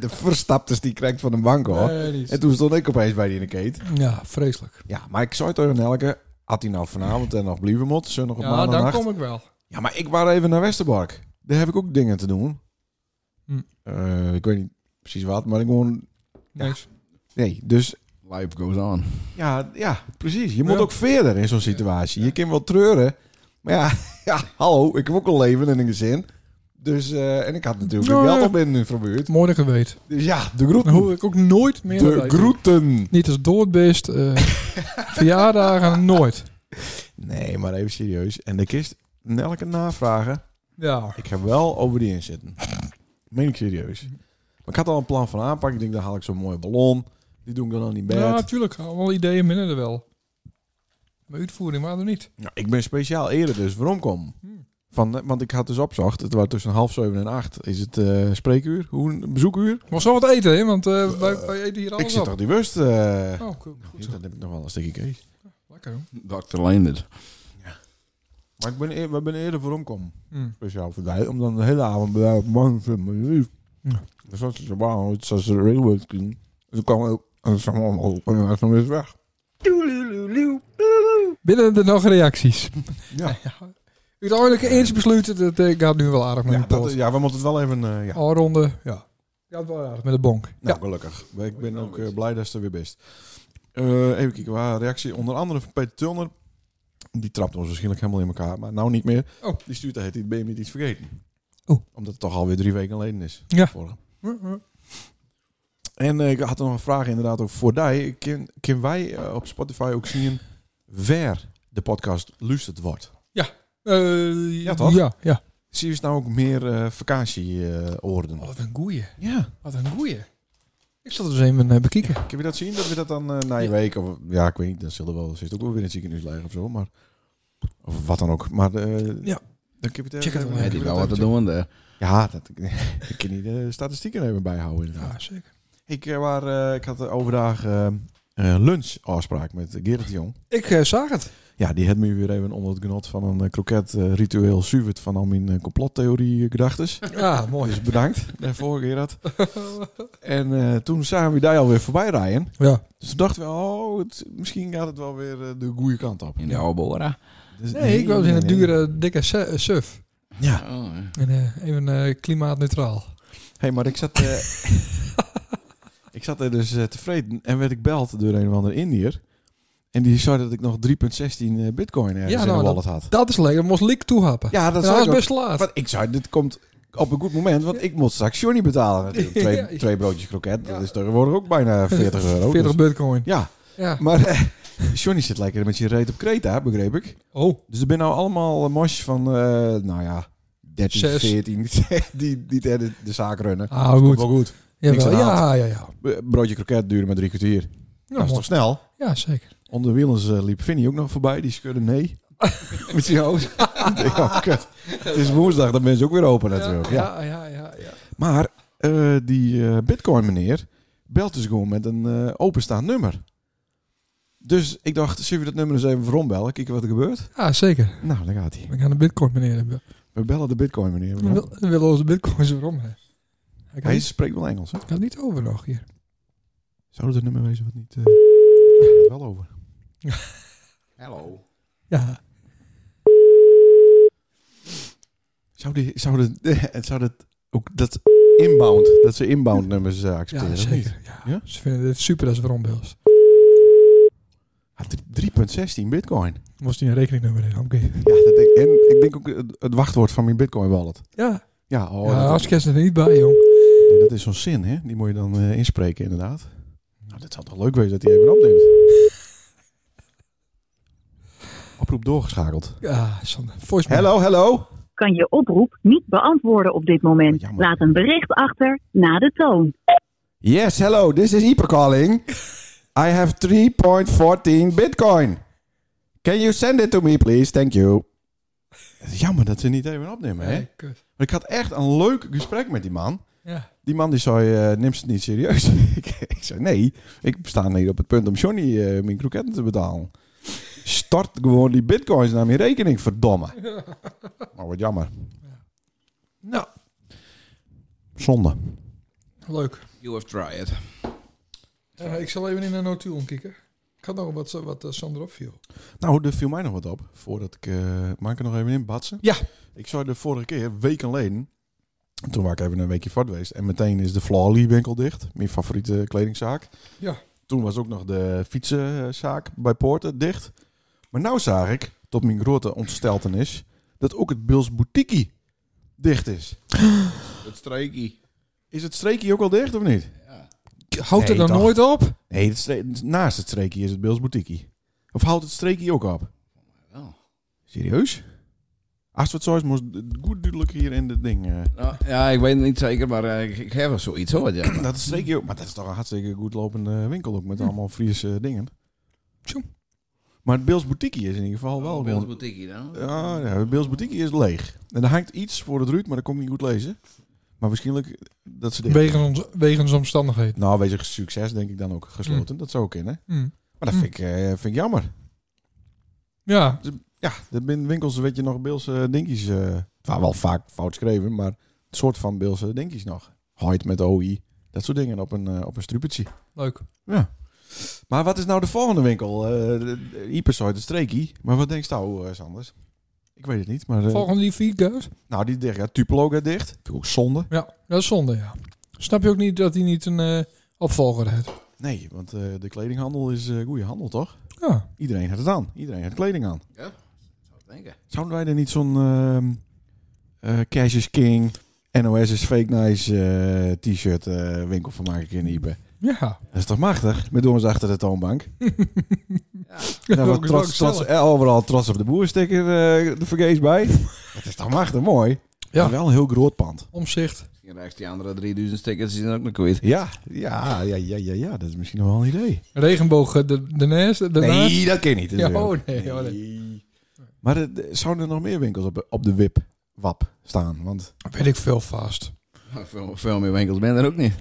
Speaker 2: De verstaptes die krijgt van de bank hoor.
Speaker 1: Nee, niet.
Speaker 2: En toen stond ik opeens bij die in de keet.
Speaker 1: Ja, vreselijk.
Speaker 2: Ja, maar ik zei tegen Nelke, had hij nou vanavond en nog blijven mot, zondag op
Speaker 1: Ja, dan
Speaker 2: maandagnacht.
Speaker 1: kom ik wel.
Speaker 2: Ja, maar ik was even naar Westerbork. Daar heb ik ook dingen te doen.
Speaker 1: Hm.
Speaker 2: Eh, ik weet niet precies wat, maar ik gewoon...
Speaker 1: Niks.
Speaker 2: Nee, dus...
Speaker 4: Life goes on.
Speaker 2: Ja, ja precies. Je moet
Speaker 1: Ja.
Speaker 2: ook verder in zo'n situatie. Je kan wel treuren. Maar ja, ja, hallo, ik heb ook een leven en een gezin. Dus, eh, en ik had natuurlijk
Speaker 1: Nou,
Speaker 2: ook geld
Speaker 1: ja.
Speaker 2: op binnen in verbuurd.
Speaker 1: Mooi dat je weet.
Speaker 2: Dus ja, de
Speaker 1: Dan
Speaker 2: groeten.
Speaker 1: hoor ik ook nooit meer.
Speaker 2: De
Speaker 1: erbij.
Speaker 2: groeten.
Speaker 1: Niet als doodbeest. eh verjaardagen, nooit.
Speaker 2: Nee, maar even serieus. En de kist, Nelke navragen.
Speaker 1: Ja.
Speaker 2: Ik heb wel over die inzitten. Meen ik serieus. Maar ik had al een plan van aanpak. Ik denk, dan haal ik zo'n mooie ballon. Die doe ik dan aan die bed.
Speaker 1: Ja, natuurlijk. Allemaal ideeën binnen er wel. Maar uitvoering waren er niet.
Speaker 2: Nou, ik ben speciaal eerder dus waarom kom.
Speaker 1: Hmm.
Speaker 2: Van, eh, want ik had dus opzocht. Het was tussen half zeven en acht. Is het eh, spreekuur? Hoe, een bezoekuur?
Speaker 1: Maar zo wat eten, hè? Want eh, wij, wij eten hier
Speaker 2: ik
Speaker 1: alles
Speaker 2: zit
Speaker 1: op.
Speaker 2: toch die wust. eh.
Speaker 1: Oh, cool. goed.
Speaker 2: Ja,
Speaker 1: zo.
Speaker 2: dan heb ik nog wel een stukje kees.
Speaker 1: Lekker, hoor.
Speaker 4: Dr. Leendert.
Speaker 2: Maar ik ben, eer- we ben eerder waarom kom.
Speaker 1: Hm.
Speaker 2: Speciaal voor mij. Om dan de hele avond bij mij op man te zitten.
Speaker 1: Ja.
Speaker 2: Dus dat is waar. Het is de railway. Dus ik kan ook. En dan is hij weer weg.
Speaker 1: Binnen er nog reacties.
Speaker 2: Ja.
Speaker 1: Uiteindelijk eens besluiten dat eh, ik had nu wel aardig met
Speaker 2: Ja,
Speaker 1: die
Speaker 2: dat,
Speaker 1: pot.
Speaker 2: ja, we moeten het wel even. eh, ja.
Speaker 1: Alronde, ja. Ja, het wel aardig met de bonk.
Speaker 2: Nou, gelukkig. Ik ben ook eh, blij dat ze er weer best. Eh, even kijken, waar reactie onder andere van Peter Tulner. Die trapt ons waarschijnlijk helemaal in elkaar, maar nou niet meer.
Speaker 1: Oh.
Speaker 2: Die stuurt heet ben je niet iets vergeten?
Speaker 1: Oh.
Speaker 2: Omdat het toch alweer drie weken geleden is.
Speaker 1: Ja.
Speaker 2: Vorige.
Speaker 1: Ja.
Speaker 2: En eh, ik had nog een vraag inderdaad over voor die. Ken, ken wij eh, op Spotify ook zien waar de podcast luisterd wordt?
Speaker 1: Eh,
Speaker 2: Ja, toch?
Speaker 1: Ja, ja.
Speaker 2: Zie je nou ook meer eh vakantieoorden?
Speaker 1: Oh, wat een goeie.
Speaker 2: ja.
Speaker 1: Wat een goeie. Ik zal het eens even eh, bekijken.
Speaker 2: Kun je dat zien? Dat we dat dan eh, na je
Speaker 1: Ja.
Speaker 2: week of ja, ik weet niet, dan zullen we wel zit ook wel weer in het ziekenhuis liggen of zo, maar of wat dan ook. Maar eh,
Speaker 1: Ja.
Speaker 2: dan kun je het
Speaker 1: Check het
Speaker 2: even-
Speaker 1: wel.
Speaker 4: Ja,
Speaker 2: ja,
Speaker 4: die
Speaker 2: kun je
Speaker 4: wel
Speaker 2: dat
Speaker 4: wat te
Speaker 2: even
Speaker 4: doen daar.
Speaker 2: checken. Ja, dat ik kan niet de statistieken even bijhouden. Inderdaad.
Speaker 1: Ja, zeker.
Speaker 2: Ik eh, waar, eh, ik had eh, overdag eh, een lunchafspraak met Gerrit de Jong.
Speaker 1: Ik eh, zag het.
Speaker 2: Ja, die had me weer even onder het genot van een eh, kroketritueel suwert van al mijn eh, complottheorie eh, gedachtes.
Speaker 1: Ja, mooi.
Speaker 2: Dus bedankt daarvoor Gerard. En eh, toen zagen we die alweer voorbij rijden.
Speaker 1: Ja.
Speaker 2: Dus toen dachten we, oh, het- misschien gaat het wel weer eh, de goede kant op.
Speaker 4: In de oude Bora.
Speaker 2: Dus-
Speaker 1: Nee, ik was in een
Speaker 2: nee, nee.
Speaker 1: dure, dikke su- eh, suf.
Speaker 2: Ja.
Speaker 4: Oh, ja.
Speaker 1: En, eh, even eh, klimaatneutraal.
Speaker 2: hey, maar ik zat... eh, ik zat er dus eh, tevreden en werd ik beld door een of andere Indiër. En die zei dat ik nog 3.16 eh, bitcoin ergens
Speaker 1: Ja,
Speaker 2: in
Speaker 1: nou,
Speaker 2: de wallet had.
Speaker 1: Dat is lekker, moest lik toehappen.
Speaker 2: Ja, dat
Speaker 1: dat
Speaker 2: zou
Speaker 1: was
Speaker 2: ik ook.
Speaker 1: best laat.
Speaker 2: Want ik zou, dit komt op een goed moment, want ik moet straks Johnny betalen. natuurlijk. Twee,
Speaker 1: Ja.
Speaker 2: twee broodjes kroket,
Speaker 1: Ja.
Speaker 2: dat is tegenwoordig ook bijna 40 euro.
Speaker 1: 40
Speaker 2: dus-
Speaker 1: bitcoin.
Speaker 2: ja,
Speaker 1: Ja.
Speaker 2: maar eh, Johnny zit lekker met zijn reet op Kreta, begreep ik.
Speaker 1: Oh,
Speaker 2: Dus er zijn nou allemaal mosjes van, eh, nou ja, 13,
Speaker 1: Zes.
Speaker 2: 14, die, die de, de zaak runnen.
Speaker 1: ah, goed.
Speaker 2: Wel goed.
Speaker 1: Jawel.
Speaker 2: aan de hand.
Speaker 1: Ja, ja, ja.
Speaker 2: B- Broodje kroket duurde maar drie kwartier.
Speaker 1: Ja,
Speaker 2: dat is
Speaker 1: mooi.
Speaker 2: toch snel?
Speaker 1: ja zeker.
Speaker 2: Onder de wielens eh, liep Vinnie ook nog voorbij, die schudde nee. met zijn hoofd. Ik denk, oh, kut. Het is woensdag, dan ben ze ook weer open natuurlijk.
Speaker 1: ja,
Speaker 2: Ja.
Speaker 1: ja, ja, ja.
Speaker 2: Maar eh, die eh, bitcoin meneer belt dus gewoon met een eh, openstaand nummer. Dus ik dacht, zullen we dat nummer eens even verombellen? Kijken wat er gebeurt.
Speaker 1: Ja, zeker.
Speaker 2: Nou, daar gaat hij.
Speaker 1: We gaan de bitcoin meneer hebben.
Speaker 2: We bellen de bitcoin meneer.
Speaker 1: We wil- we willen onze bitcoins erom hebben. Hij kan,
Speaker 2: Hij
Speaker 1: niet,
Speaker 2: spreekt wel Engels, hè?
Speaker 1: kan niet over nog hier.
Speaker 2: Zou het een nummer wezen wat niet... eh, gaat wel over.
Speaker 4: Hallo.
Speaker 1: Ja,
Speaker 2: Zou, die, zou, de, zou dat ook dat inbound, dat ze inbound nummers eh, accepteren?
Speaker 1: ja
Speaker 2: of niet?
Speaker 1: zeker. Ja.
Speaker 2: Ja?
Speaker 1: Ze vinden het super dat ze erom belt.
Speaker 2: Ah, drie- 3.16 bitcoin.
Speaker 1: Moest hij een rekeningnummer in, oké.
Speaker 2: Ja, dat denk, en ik denk ook het, het wachtwoord van mijn bitcoin wallet.
Speaker 1: Ja,
Speaker 2: Ja, oh,
Speaker 1: ja
Speaker 2: dat,
Speaker 1: als kerst er niet bij, jong.
Speaker 2: Nee, dat is zo'n zin, hè? Die moet je dan eh, inspreken, inderdaad. Nou, dat zou toch leuk wezen dat hij even opneemt. Oproep doorgeschakeld.
Speaker 1: Ja, Sander. Voicemail.
Speaker 2: Hallo, hallo.
Speaker 5: kan je oproep niet beantwoorden op dit moment.
Speaker 2: Jammer.
Speaker 5: Laat een bericht achter na de toon.
Speaker 2: Yes, hello. This is Ieper calling. I have 3.14 bitcoin. Can you send it to me, please? Thank you. Het is Jammer dat ze niet even opnemen, hè?
Speaker 1: Nee,
Speaker 2: Want
Speaker 1: kut.
Speaker 2: ik had echt een leuk gesprek met die man.
Speaker 1: Ja.
Speaker 2: Die man die zei, eh, neem ze het niet serieus. ik, ik zei, nee, ik sta niet op het punt om Johnny eh, mijn kroketten te betalen. Start gewoon die bitcoins naar mijn rekening, verdomme. Maar wat jammer.
Speaker 1: Nou,
Speaker 2: Zonde.
Speaker 1: leuk.
Speaker 4: You have tried.
Speaker 1: Eh, ik zal even in de notulen kijken. Ik had nog wat, wat eh, Sander opviel.
Speaker 2: Nou, er viel mij nog wat op. Voordat ik... eh maak er nog even in, batsen.
Speaker 1: Ja.
Speaker 2: Ik zei de vorige keer, weken geleden... Toen was ik even een weekje vat geweest. En meteen is de Flawley winkel dicht. Mijn favoriete kledingzaak.
Speaker 1: Ja.
Speaker 2: Toen was ook nog de fietsenzaak bij Poorten dicht. Maar nou zag ik, tot mijn grote ontsteltenis... dat ook het Bils Boutique dicht is.
Speaker 4: Het streekie.
Speaker 2: Is het streekje ook al dicht of niet?
Speaker 4: Ja.
Speaker 1: Houdt
Speaker 2: Nee,
Speaker 1: er dan
Speaker 2: toch?
Speaker 1: nooit op?
Speaker 2: Nee, het stre- naast het streekje is het Bils Boutique. Of houdt het streekje ook op?
Speaker 1: Oh.
Speaker 4: Wel.
Speaker 2: Serieus? Als het zo is, moest het goed duidelijk hier in dit ding. eh.
Speaker 4: Nou, ja, ik weet het niet zeker, maar eh, ik, ik heb wel zoiets hoor. Ja.
Speaker 2: Dat is zeker ook. Maar dat is toch een hartstikke goed lopende winkel ook met allemaal Friese dingen.
Speaker 1: Tjoe.
Speaker 2: Maar het Beels Boutique is in ieder
Speaker 1: Oh,
Speaker 2: geval wel
Speaker 4: Bij ons
Speaker 2: gewoon...
Speaker 4: boutique dan.
Speaker 2: Ja, ja, het Beels Boutique is leeg. En er hangt iets voor het ruut, maar dat kon ik niet goed lezen. Maar waarschijnlijk dat ze... dicht-
Speaker 1: Wegens, ons, wegens omstandigheden.
Speaker 2: Nou, wezen succes denk ik dan ook gesloten. Dat zou ook in, hè?
Speaker 1: Hm.
Speaker 2: Maar dat
Speaker 1: Hm.
Speaker 2: vind ik, eh, vind ik jammer.
Speaker 1: Ja,
Speaker 2: Ja, dat binnen winkels weet je nog Beelse dinkies. eh het waren wel vaak fout geschreven, maar het soort van Beelse dinkies nog. Hoid met OI. Dat soort dingen op een, eh, op een strupertje.
Speaker 1: leuk.
Speaker 2: Maar wat is nou de volgende winkel? Uh, Hypersoid, de streekie. Maar wat denkt jou, eh, Sanders? Ik weet het niet, maar... eh,
Speaker 1: Volgende die vier guys.
Speaker 2: Nou, die dicht. Ja, Tupelo gaat dicht. Vind ik ook zonde.
Speaker 1: Ja, dat is zonde, ja. Snap je ook niet dat hij niet een eh, opvolger heeft?
Speaker 2: Nee, want eh, de kledinghandel is eh goede handel, toch?
Speaker 1: Ja.
Speaker 2: Iedereen had het aan. Iedereen had kleding aan.
Speaker 4: Zou ik denken.
Speaker 2: Zouden wij er niet zo'n ehm eh, Cash is King, NOS is Fake Nice eh, t-shirt eh, winkel van maken in Iepen?
Speaker 1: Ja.
Speaker 2: Dat is toch machtig? Met ons achter de toonbank.
Speaker 1: Dat is
Speaker 2: Daar wordt
Speaker 1: ook
Speaker 2: Nou,
Speaker 1: wel
Speaker 2: trots, trots,
Speaker 1: gezellig.
Speaker 2: eh, overal trots op de boerensticker eh, de vergees bij. Dat is toch machtig mooi?
Speaker 1: Ja.
Speaker 2: Ja. Wel een heel groot pand.
Speaker 1: Omzicht.
Speaker 4: Misschien rechts die andere 3000 stickers die zijn ook nog kwijt.
Speaker 2: Ja, ja, ja, ja, ja, ja. Dat is misschien nog wel een idee.
Speaker 1: Regenbogen, eh, de, de nest, de naast.
Speaker 2: Nee, dat ken je niet.
Speaker 1: Ja,
Speaker 2: natuurlijk.
Speaker 1: oh, nee, oh,
Speaker 2: Maar eh, d- zouden er nog meer winkels op, op de WIP, WAP staan? Want,
Speaker 1: Weet ik veel vast.
Speaker 4: Maar Veel, veel meer winkels ben er ook niet.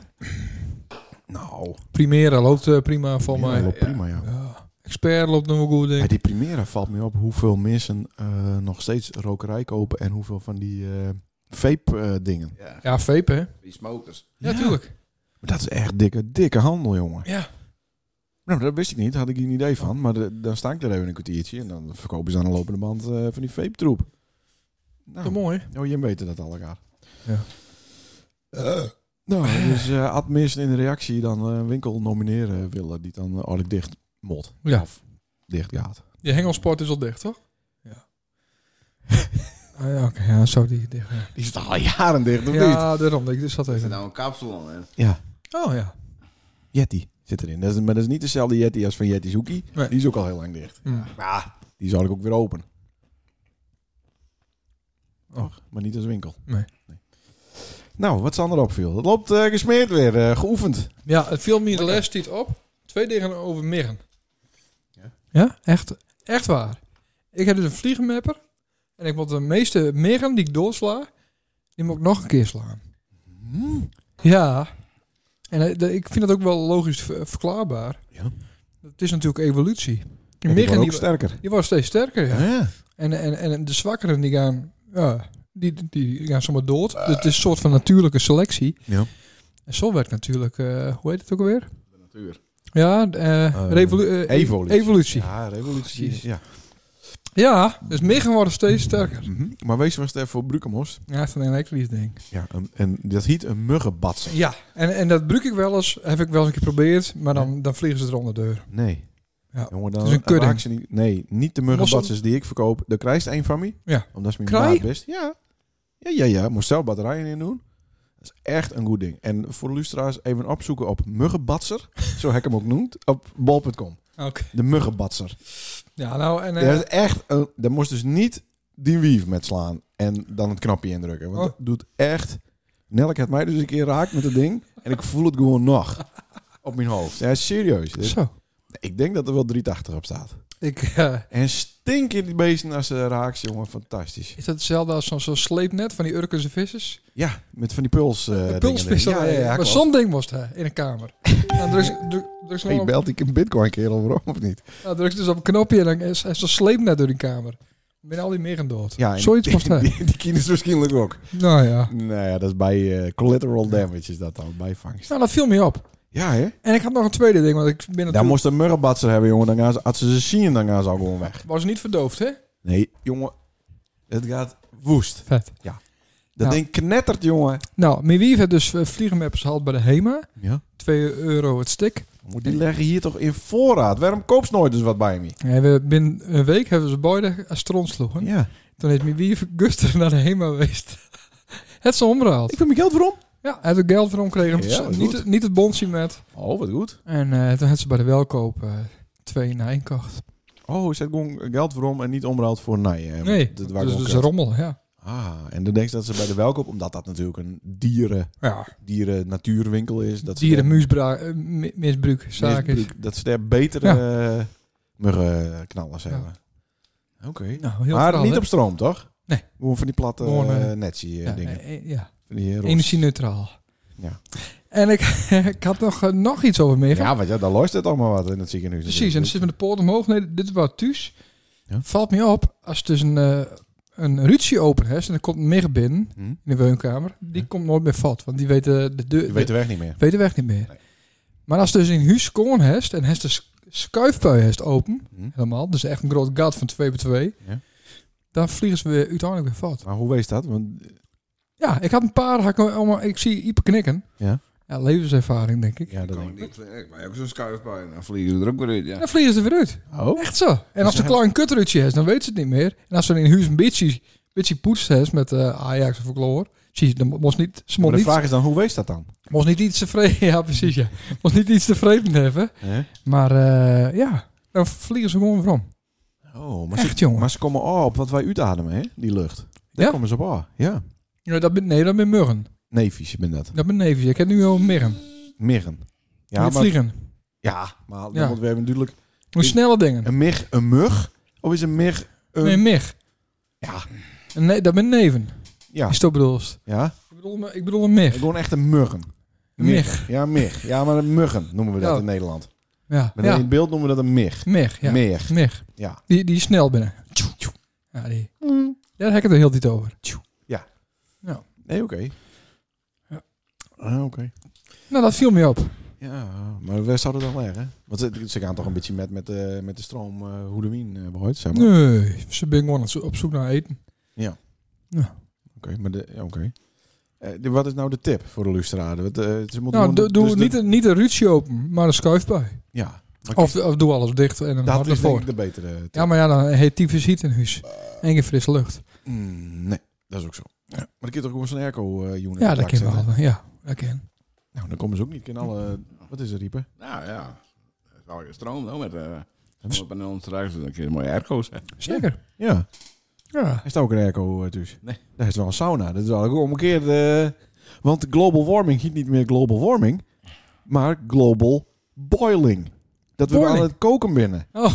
Speaker 2: nou,
Speaker 1: Primera loopt eh, prima voor
Speaker 2: ja,
Speaker 1: mij.
Speaker 2: loopt prima, ja.
Speaker 1: Ja. Expert loopt nog wel goed, denk
Speaker 2: Bij
Speaker 1: ik.
Speaker 2: die Primera valt me op hoeveel mensen eh, nog steeds rokerij kopen en hoeveel van die eh vape-dingen.
Speaker 4: Ja,
Speaker 1: Ja, vape, hè?
Speaker 4: die smokers.
Speaker 1: Ja, tuurlijk.
Speaker 2: dat is echt dikke, dikke handel, jongen.
Speaker 1: Ja.
Speaker 2: Nou, dat wist ik niet, had ik geen idee van. Maar de- dan sta ik er even een kwartiertje en dan verkopen ze aan de lopende band eh, van die vape-troep.
Speaker 1: Dat is
Speaker 2: Nou,
Speaker 1: mooi.
Speaker 2: oh, je weet dat al elkaar.
Speaker 1: Ja.
Speaker 2: Nou, dus eh admin in de reactie dan eh, een winkel nomineren willen die dan uh, oorlijk dicht mot.
Speaker 1: Ja.
Speaker 2: Of dicht gaat.
Speaker 1: Je hengelsport is al dicht, toch? Ja. Ah, ja, Oké, ja, zo die dicht. ja.
Speaker 2: Die staat al jaren dicht, of niet?
Speaker 1: Ja, daarom. Ik zat
Speaker 4: Is er
Speaker 1: even.
Speaker 4: nou een kapsel aan? hè?
Speaker 2: Ja,
Speaker 1: Oh ja.
Speaker 2: Yeti zit erin. Dat is, maar dat is niet dezelfde Yeti als van Yeti's Hoekie.
Speaker 1: Nee.
Speaker 2: Die is ook al heel lang dicht.
Speaker 1: Hm.
Speaker 2: Maar die zou ik ook weer open.
Speaker 1: Och.
Speaker 2: Maar niet als winkel.
Speaker 1: Nee.
Speaker 2: Nou, wat Sander opviel. Het loopt eh, gesmeerd weer, eh, geoefend.
Speaker 1: Ja, het viel me de les niet op. Twee dingen over Mirren.
Speaker 4: Ja?
Speaker 1: Ja? echt, echt waar. Ik heb dus een vliegenmapper. En ik moet de meeste Mirren die ik doorsla, die moet ik nog een keer slaan. Ja. En eh, de- ik vind dat ook wel logisch ver- verklaarbaar.
Speaker 2: Ja.
Speaker 1: Het is natuurlijk evolutie. Die
Speaker 2: En die
Speaker 1: Mirren
Speaker 2: wordt ook
Speaker 1: die,
Speaker 2: sterker.
Speaker 1: die wordt steeds sterker. Ja.
Speaker 2: Ja.
Speaker 1: En, en, en de zwakkeren die gaan, ja, die, die, die gaan zomaar dood. Het is een soort van natuurlijke selectie.
Speaker 2: Ja.
Speaker 1: En zo werkt natuurlijk, eh, hoe heet het ook alweer?
Speaker 4: De natuur.
Speaker 1: Ja, eh,
Speaker 2: Eh,
Speaker 1: revolu- eh,
Speaker 2: evolutie.
Speaker 1: evolutie. Ja.
Speaker 2: Ja, revolutie. Ja.
Speaker 1: dus Miggen worden steeds sterker.
Speaker 2: Mhm. Maar wees maar sterk voor Brukemost.
Speaker 1: Ja, dat is een elektrisch ding.
Speaker 2: Ja, en, en dat heet een muggenbats.
Speaker 1: Ja, en, en dat gebruik ik wel eens, heb ik wel eens een keer geprobeerd, maar dan, dan vliegen ze er onder de deur.
Speaker 2: Nee.
Speaker 1: Ja.
Speaker 2: Jongen,
Speaker 1: Het is een kudding.
Speaker 2: raak ze niet, nee, niet de muggenbatsers die ik verkoop. Daar krijgt één van me.
Speaker 1: Ja.
Speaker 2: Omdat ze me
Speaker 1: Kraai?
Speaker 2: maat best. Ja. Ja, ja, ja. Moest zelf batterijen in doen. Dat is echt een goed ding. En voor de lustra's even opzoeken op muggenbatser. zo heb ik hem ook noemt. Op bol.com.
Speaker 1: Oké.
Speaker 2: De muggenbatser.
Speaker 1: Ja, nou, en, eh,
Speaker 2: Dat is echt een... Daar moest dus niet die wief met slaan. En dan het knopje indrukken. Want
Speaker 1: Oh.
Speaker 2: dat doet echt... Nelk had mij dus een keer raakt met het ding. En ik voel het gewoon nog. Op mijn hoofd. Ja, serieus. Dit-
Speaker 1: zo.
Speaker 2: Ik denk dat er wel 380 op staat.
Speaker 1: Ik, eh,
Speaker 2: En stinken die beesten als ze raakt, jongen. Fantastisch.
Speaker 1: is dat hetzelfde als zo'n zo'n sleepnet van die Urkense vissers?
Speaker 2: Ja, met van die puls. eh,
Speaker 1: de
Speaker 2: dingen
Speaker 1: pulsvisser.
Speaker 2: erin. Ja, ja, ja.
Speaker 1: maar
Speaker 2: klopt.
Speaker 1: zo'n ding moest hij in een kamer. Dan drukt ze- druk- drukt ze
Speaker 2: Hey,
Speaker 1: nog op-
Speaker 2: belt ik een bitcoin kerel waarom of niet?
Speaker 1: dan drukt ze dus op een knopje en dan is, is zo'n sleepnet door die kamer. Dan ben al die Miggen dood.
Speaker 2: Ja, en
Speaker 1: Zoiets moest
Speaker 2: die,
Speaker 1: hij.
Speaker 2: die, die kines waarschijnlijk ook.
Speaker 1: Nou ja.
Speaker 2: Nou ja, dat is bij eh, collateral damage is dat dan, bijvangst.
Speaker 1: Nou, dat viel me op.
Speaker 2: Ja, hè?
Speaker 1: En ik had nog een tweede ding, want ik ben
Speaker 2: Daar
Speaker 1: natuurlijk...
Speaker 2: moest een murrenbatser hebben, jongen. Dan gaan ze, als ze ze zien, dan gaan ze al gewoon weg.
Speaker 1: Was niet verdoofd, hè?
Speaker 2: Nee, jongen. Het gaat woest.
Speaker 1: Vet.
Speaker 2: Dat
Speaker 1: Ja.
Speaker 2: ding knettert, jongen.
Speaker 1: Nou, Miwief heeft dus eh, vliegenmappers gehaald bij de HEMA.
Speaker 2: Ja.
Speaker 1: 2 euro het stuk.
Speaker 2: Moet die leggen hier toch in voorraad? Waarom koop ze nooit dus wat bij me?
Speaker 1: En we, binnen een week hebben ze beide als stront sloegen.
Speaker 2: Ja.
Speaker 1: Toen heeft Miwief gustig naar de HEMA geweest. het ze omgehaald.
Speaker 2: Ik vind mijn geld waarom.
Speaker 1: Ja, hij heeft ook geld voor omgekregen.
Speaker 2: Ja, wat
Speaker 1: niet,
Speaker 2: goed.
Speaker 1: het- niet het bonsie met.
Speaker 2: Oh, wat goed.
Speaker 1: En eh, toen had ze bij de welkoop eh, twee in één kocht.
Speaker 2: Oh, is dat gewoon geld voor om en niet omruild voor naaien?
Speaker 1: Nee,
Speaker 2: dat
Speaker 1: dus
Speaker 2: waren
Speaker 1: dat
Speaker 2: gewoon
Speaker 1: is
Speaker 2: kut.
Speaker 1: rommel, ja.
Speaker 2: Ah, en dan denk je dat ze bij de welkoop, omdat dat natuurlijk een dieren,
Speaker 1: Ja,
Speaker 2: dieren natuurwinkel is, dat ze daar
Speaker 1: eh, dierenmisbruik, zaak is.
Speaker 2: misbruik- dat ze daar betere eh, muggenknallers
Speaker 1: Ja.
Speaker 2: hebben. Oké.
Speaker 1: Nou, heel
Speaker 2: Maar
Speaker 1: verhaal,
Speaker 2: niet
Speaker 1: hè?
Speaker 2: op stroom, toch?
Speaker 1: Nee.
Speaker 2: Gewoon van die platte
Speaker 1: Gewoon, eh,
Speaker 2: eh, netzie eh,
Speaker 1: Ja,
Speaker 2: dingen.
Speaker 1: eh, eh, ja.
Speaker 2: Van die roze-
Speaker 1: energie-neutraal.
Speaker 2: Ja.
Speaker 1: En ik, ik had nog, eh, nog iets over meegaan.
Speaker 2: Ja, want ja, daar luistert allemaal wat in het ziekenhuis.
Speaker 1: Precies, en dan zit met de poort omhoog. Nee, dit is wat thuis.
Speaker 2: Ja.
Speaker 1: Valt me op, als het dus een, eh, een ruzie open is en er komt meer binnen
Speaker 2: Hm?
Speaker 1: in de woonkamer, die
Speaker 2: Ja.
Speaker 1: komt nooit meer vat, want die weet eh, de deur,
Speaker 2: Je weet de weg niet meer.
Speaker 1: weet de weg niet meer.
Speaker 2: Nee.
Speaker 1: Maar als het dus in huis komen is en heeft de s- schuifpui heeft open,
Speaker 2: Hm?
Speaker 1: helemaal, dus echt een groot gat van 2 bij 2,
Speaker 2: Ja.
Speaker 1: dan vliegen ze weer uiteindelijk weer vat.
Speaker 2: Maar hoe wees dat? Want,
Speaker 1: Ja, ik had een paar, had ik, allemaal, ik zie Ipe knikken.
Speaker 2: Ja.
Speaker 1: ja, levenservaring denk ik.
Speaker 2: ja, dat
Speaker 4: Kan ik
Speaker 2: denk ik.
Speaker 4: niet. Ik maak ook zo'n schuifbui en dan vliegen ze er ook weer uit. Ja.
Speaker 1: Dan vliegen ze er weer uit.
Speaker 2: Oh?
Speaker 1: Echt zo. En als ze
Speaker 2: zijn-
Speaker 1: klaar een kutrutje is, dan weet ze het niet meer. En als ze in huis een beetje, beetje poetst is met eh, Ajax of Kloor. Zie je, dan moest niet, ze
Speaker 2: Maar
Speaker 1: mocht
Speaker 2: de
Speaker 1: niet,
Speaker 2: vraag is dan, hoe wees dat dan?
Speaker 1: moest niet iets tevreden. Ja, precies. Ja. Moest niet iets tevreden hebben.
Speaker 2: Hè?
Speaker 1: Maar eh, ja, dan vliegen ze gewoon weer om.
Speaker 2: Oh, maar
Speaker 1: Echt, jongen.
Speaker 2: Maar ze komen al op wat wij uitademen, hè? Die lucht. Daar
Speaker 1: Ja?
Speaker 2: komen ze op aan. Ja.
Speaker 1: Ja, dat ben, nee, dat ben muggen.
Speaker 2: Nee, vies, ben dat.
Speaker 1: Dat ben neefjes. Ik heb nu al muggen.
Speaker 2: Miggen.
Speaker 1: Ja,
Speaker 2: Ja, maar,
Speaker 1: vliegen.
Speaker 2: ja, maar dan
Speaker 1: Ja.
Speaker 2: want we hebben natuurlijk
Speaker 1: Hoe
Speaker 2: ik-
Speaker 1: snelle dingen.
Speaker 2: een mig, een mug. Of is een mig een...
Speaker 1: nee, mig.
Speaker 2: Ja.
Speaker 1: Een ne- dat ben neven.
Speaker 2: Ja,
Speaker 1: Is dat bedoeld?
Speaker 2: ja.
Speaker 1: Ik bedoel, me- ik bedoel een mig.
Speaker 2: Gewoon echt een muggen.
Speaker 1: Een mig.
Speaker 2: Ja, mig. Ja, maar een muggen noemen we dat
Speaker 1: Ja.
Speaker 2: in Nederland.
Speaker 1: Ja,
Speaker 2: Maar
Speaker 1: ja.
Speaker 2: in het beeld noemen we dat een mig.
Speaker 1: mig. Ja.
Speaker 2: Mig.
Speaker 1: Mig.
Speaker 2: Ja.
Speaker 1: Die, die is snel binnen. Tjoe, tjoe. Ja, die.
Speaker 2: Mm.
Speaker 1: Daar heb ik het de hele tijd over. Tjoe.
Speaker 2: Nee, oké.
Speaker 1: Ja.
Speaker 2: Ah, oké.
Speaker 1: Nou, dat viel me op.
Speaker 2: Ja, maar waar zou dat dan liggen? Want ze, ze gaan toch een beetje met, met, de met de stroom eh hoe de wien eh, behoort, zeg maar.
Speaker 1: Nee, ze ben gewoon op zo- op zoek naar eten.
Speaker 2: Ja.
Speaker 1: Ja.
Speaker 2: Oké, maar de, ja, oké. Eh, de- wat is nou de tip voor de lustraden? Want, eh, ze moeten
Speaker 1: Nou, doe,
Speaker 2: gewoon-
Speaker 1: doe
Speaker 2: dus de-
Speaker 1: niet, een- niet een ruutje open, maar een schuif bij.
Speaker 2: Ja, maar
Speaker 1: Of, of doe alles dicht en dan
Speaker 2: dat
Speaker 1: hard
Speaker 2: is denk
Speaker 1: ervoor.
Speaker 2: ik de betere tip.
Speaker 1: Ja, maar ja, dan heet tyfus heat in huis. En geen frisse lucht.
Speaker 2: Mm, nee, dat is ook zo. Maar dan kun je toch gewoon zo'n eh, airco-unit
Speaker 1: Ja, dat kan wel. eh. Ja, dat kan.
Speaker 2: Nou, dan komen ze ook niet in alle... Wat is er, Riepen?
Speaker 4: Nou ja, dat is wel gestroomd hoor. Met eh met panelen straks, dan kun je mooie airco's hebben.
Speaker 1: Zeker.
Speaker 2: Ja,
Speaker 1: Ja.
Speaker 2: hij staat ook een airco eh, thuis.
Speaker 4: Nee.
Speaker 2: Daar is wel een sauna. Dat is wel ook omgekeerd. eh want global warming heet niet meer global warming, maar global boiling. Dat we
Speaker 1: Boiling.
Speaker 2: aan het koken binnen.
Speaker 4: Oh,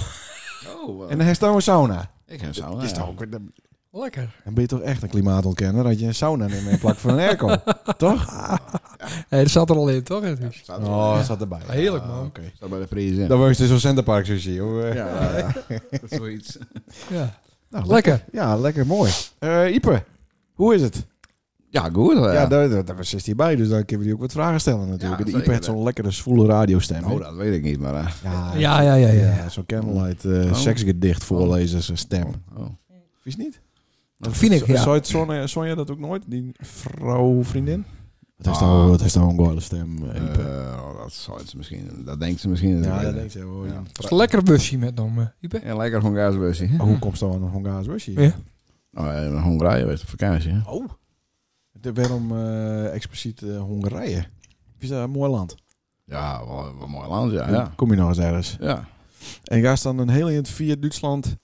Speaker 4: eh,
Speaker 2: En hij staat een sauna.
Speaker 4: ik heb sauna.
Speaker 2: Dat is
Speaker 4: Oh, ja.
Speaker 2: toch ook- dan
Speaker 1: Lekker.
Speaker 2: dan ben je toch echt een klimaatontkenner dat je een sauna neemt in plak van een airco. toch?
Speaker 1: Hé, dat zat er al in, toch? in het huis?
Speaker 4: Staat, er-
Speaker 2: Oh, dat zat erbij.
Speaker 1: Heerlijk, man.
Speaker 2: Ah, Oké.
Speaker 4: staat bij de prijzen.
Speaker 2: Dan was je dus zo'n centerpark sushi. Hoor.
Speaker 4: Ja,
Speaker 2: Eh,
Speaker 4: ja, ja. dat is zoiets.
Speaker 1: Ja.
Speaker 2: nou,
Speaker 1: Lekker.
Speaker 2: Ja, lekker mooi. Eh Ipe, hoe is het?
Speaker 4: Ja, goed. eh.
Speaker 2: Ja, daar, daar, daar zit hij bij, dus dan kunnen we die ook wat vragen stellen natuurlijk.
Speaker 4: Ja,
Speaker 2: de Ipe
Speaker 4: zeker,
Speaker 2: heeft
Speaker 4: hè.
Speaker 2: zo'n lekkere, zwoele radiostem. hè?
Speaker 4: nou, dat weet ik niet, maar... eh,
Speaker 2: ja,
Speaker 1: Ja, ja, ja, Oh. ja.
Speaker 2: ja,
Speaker 1: ja.
Speaker 2: zo'n candlelight eh, seksgedicht voorlezen zijn stem.
Speaker 4: oh, oh.
Speaker 2: Vies niet?
Speaker 1: Dat vind ik,
Speaker 2: Zo-
Speaker 1: ja.
Speaker 2: Zou het Sonja, Sonja dat ook nooit? Die vrouw, vriendin? Ah. Het
Speaker 4: heeft
Speaker 2: is
Speaker 4: nou-
Speaker 2: toch een goede stem,
Speaker 4: Eh, dat zou ze misschien... Dat denkt ze misschien.
Speaker 2: Ja, dat denk ik zo.
Speaker 4: Ja.
Speaker 1: Het is een lekker busje met hem, eh, Ipe.
Speaker 4: En lekker Hongaarse busje. hè?
Speaker 2: Oh, hoe komt ze dan aan een Hongaars worstje?
Speaker 1: Ja.
Speaker 4: Nou, eh, Hongarije was op vakantie, hè?
Speaker 2: Oh. De- Waarom eh, expliciet eh, Hongarije? Is dat een mooi land?
Speaker 4: Ja, wel, wel een mooi land, ja. Ja.
Speaker 2: Kom je nog eens ergens?
Speaker 4: ja.
Speaker 2: En ga je dan een heel eind via Duitsland,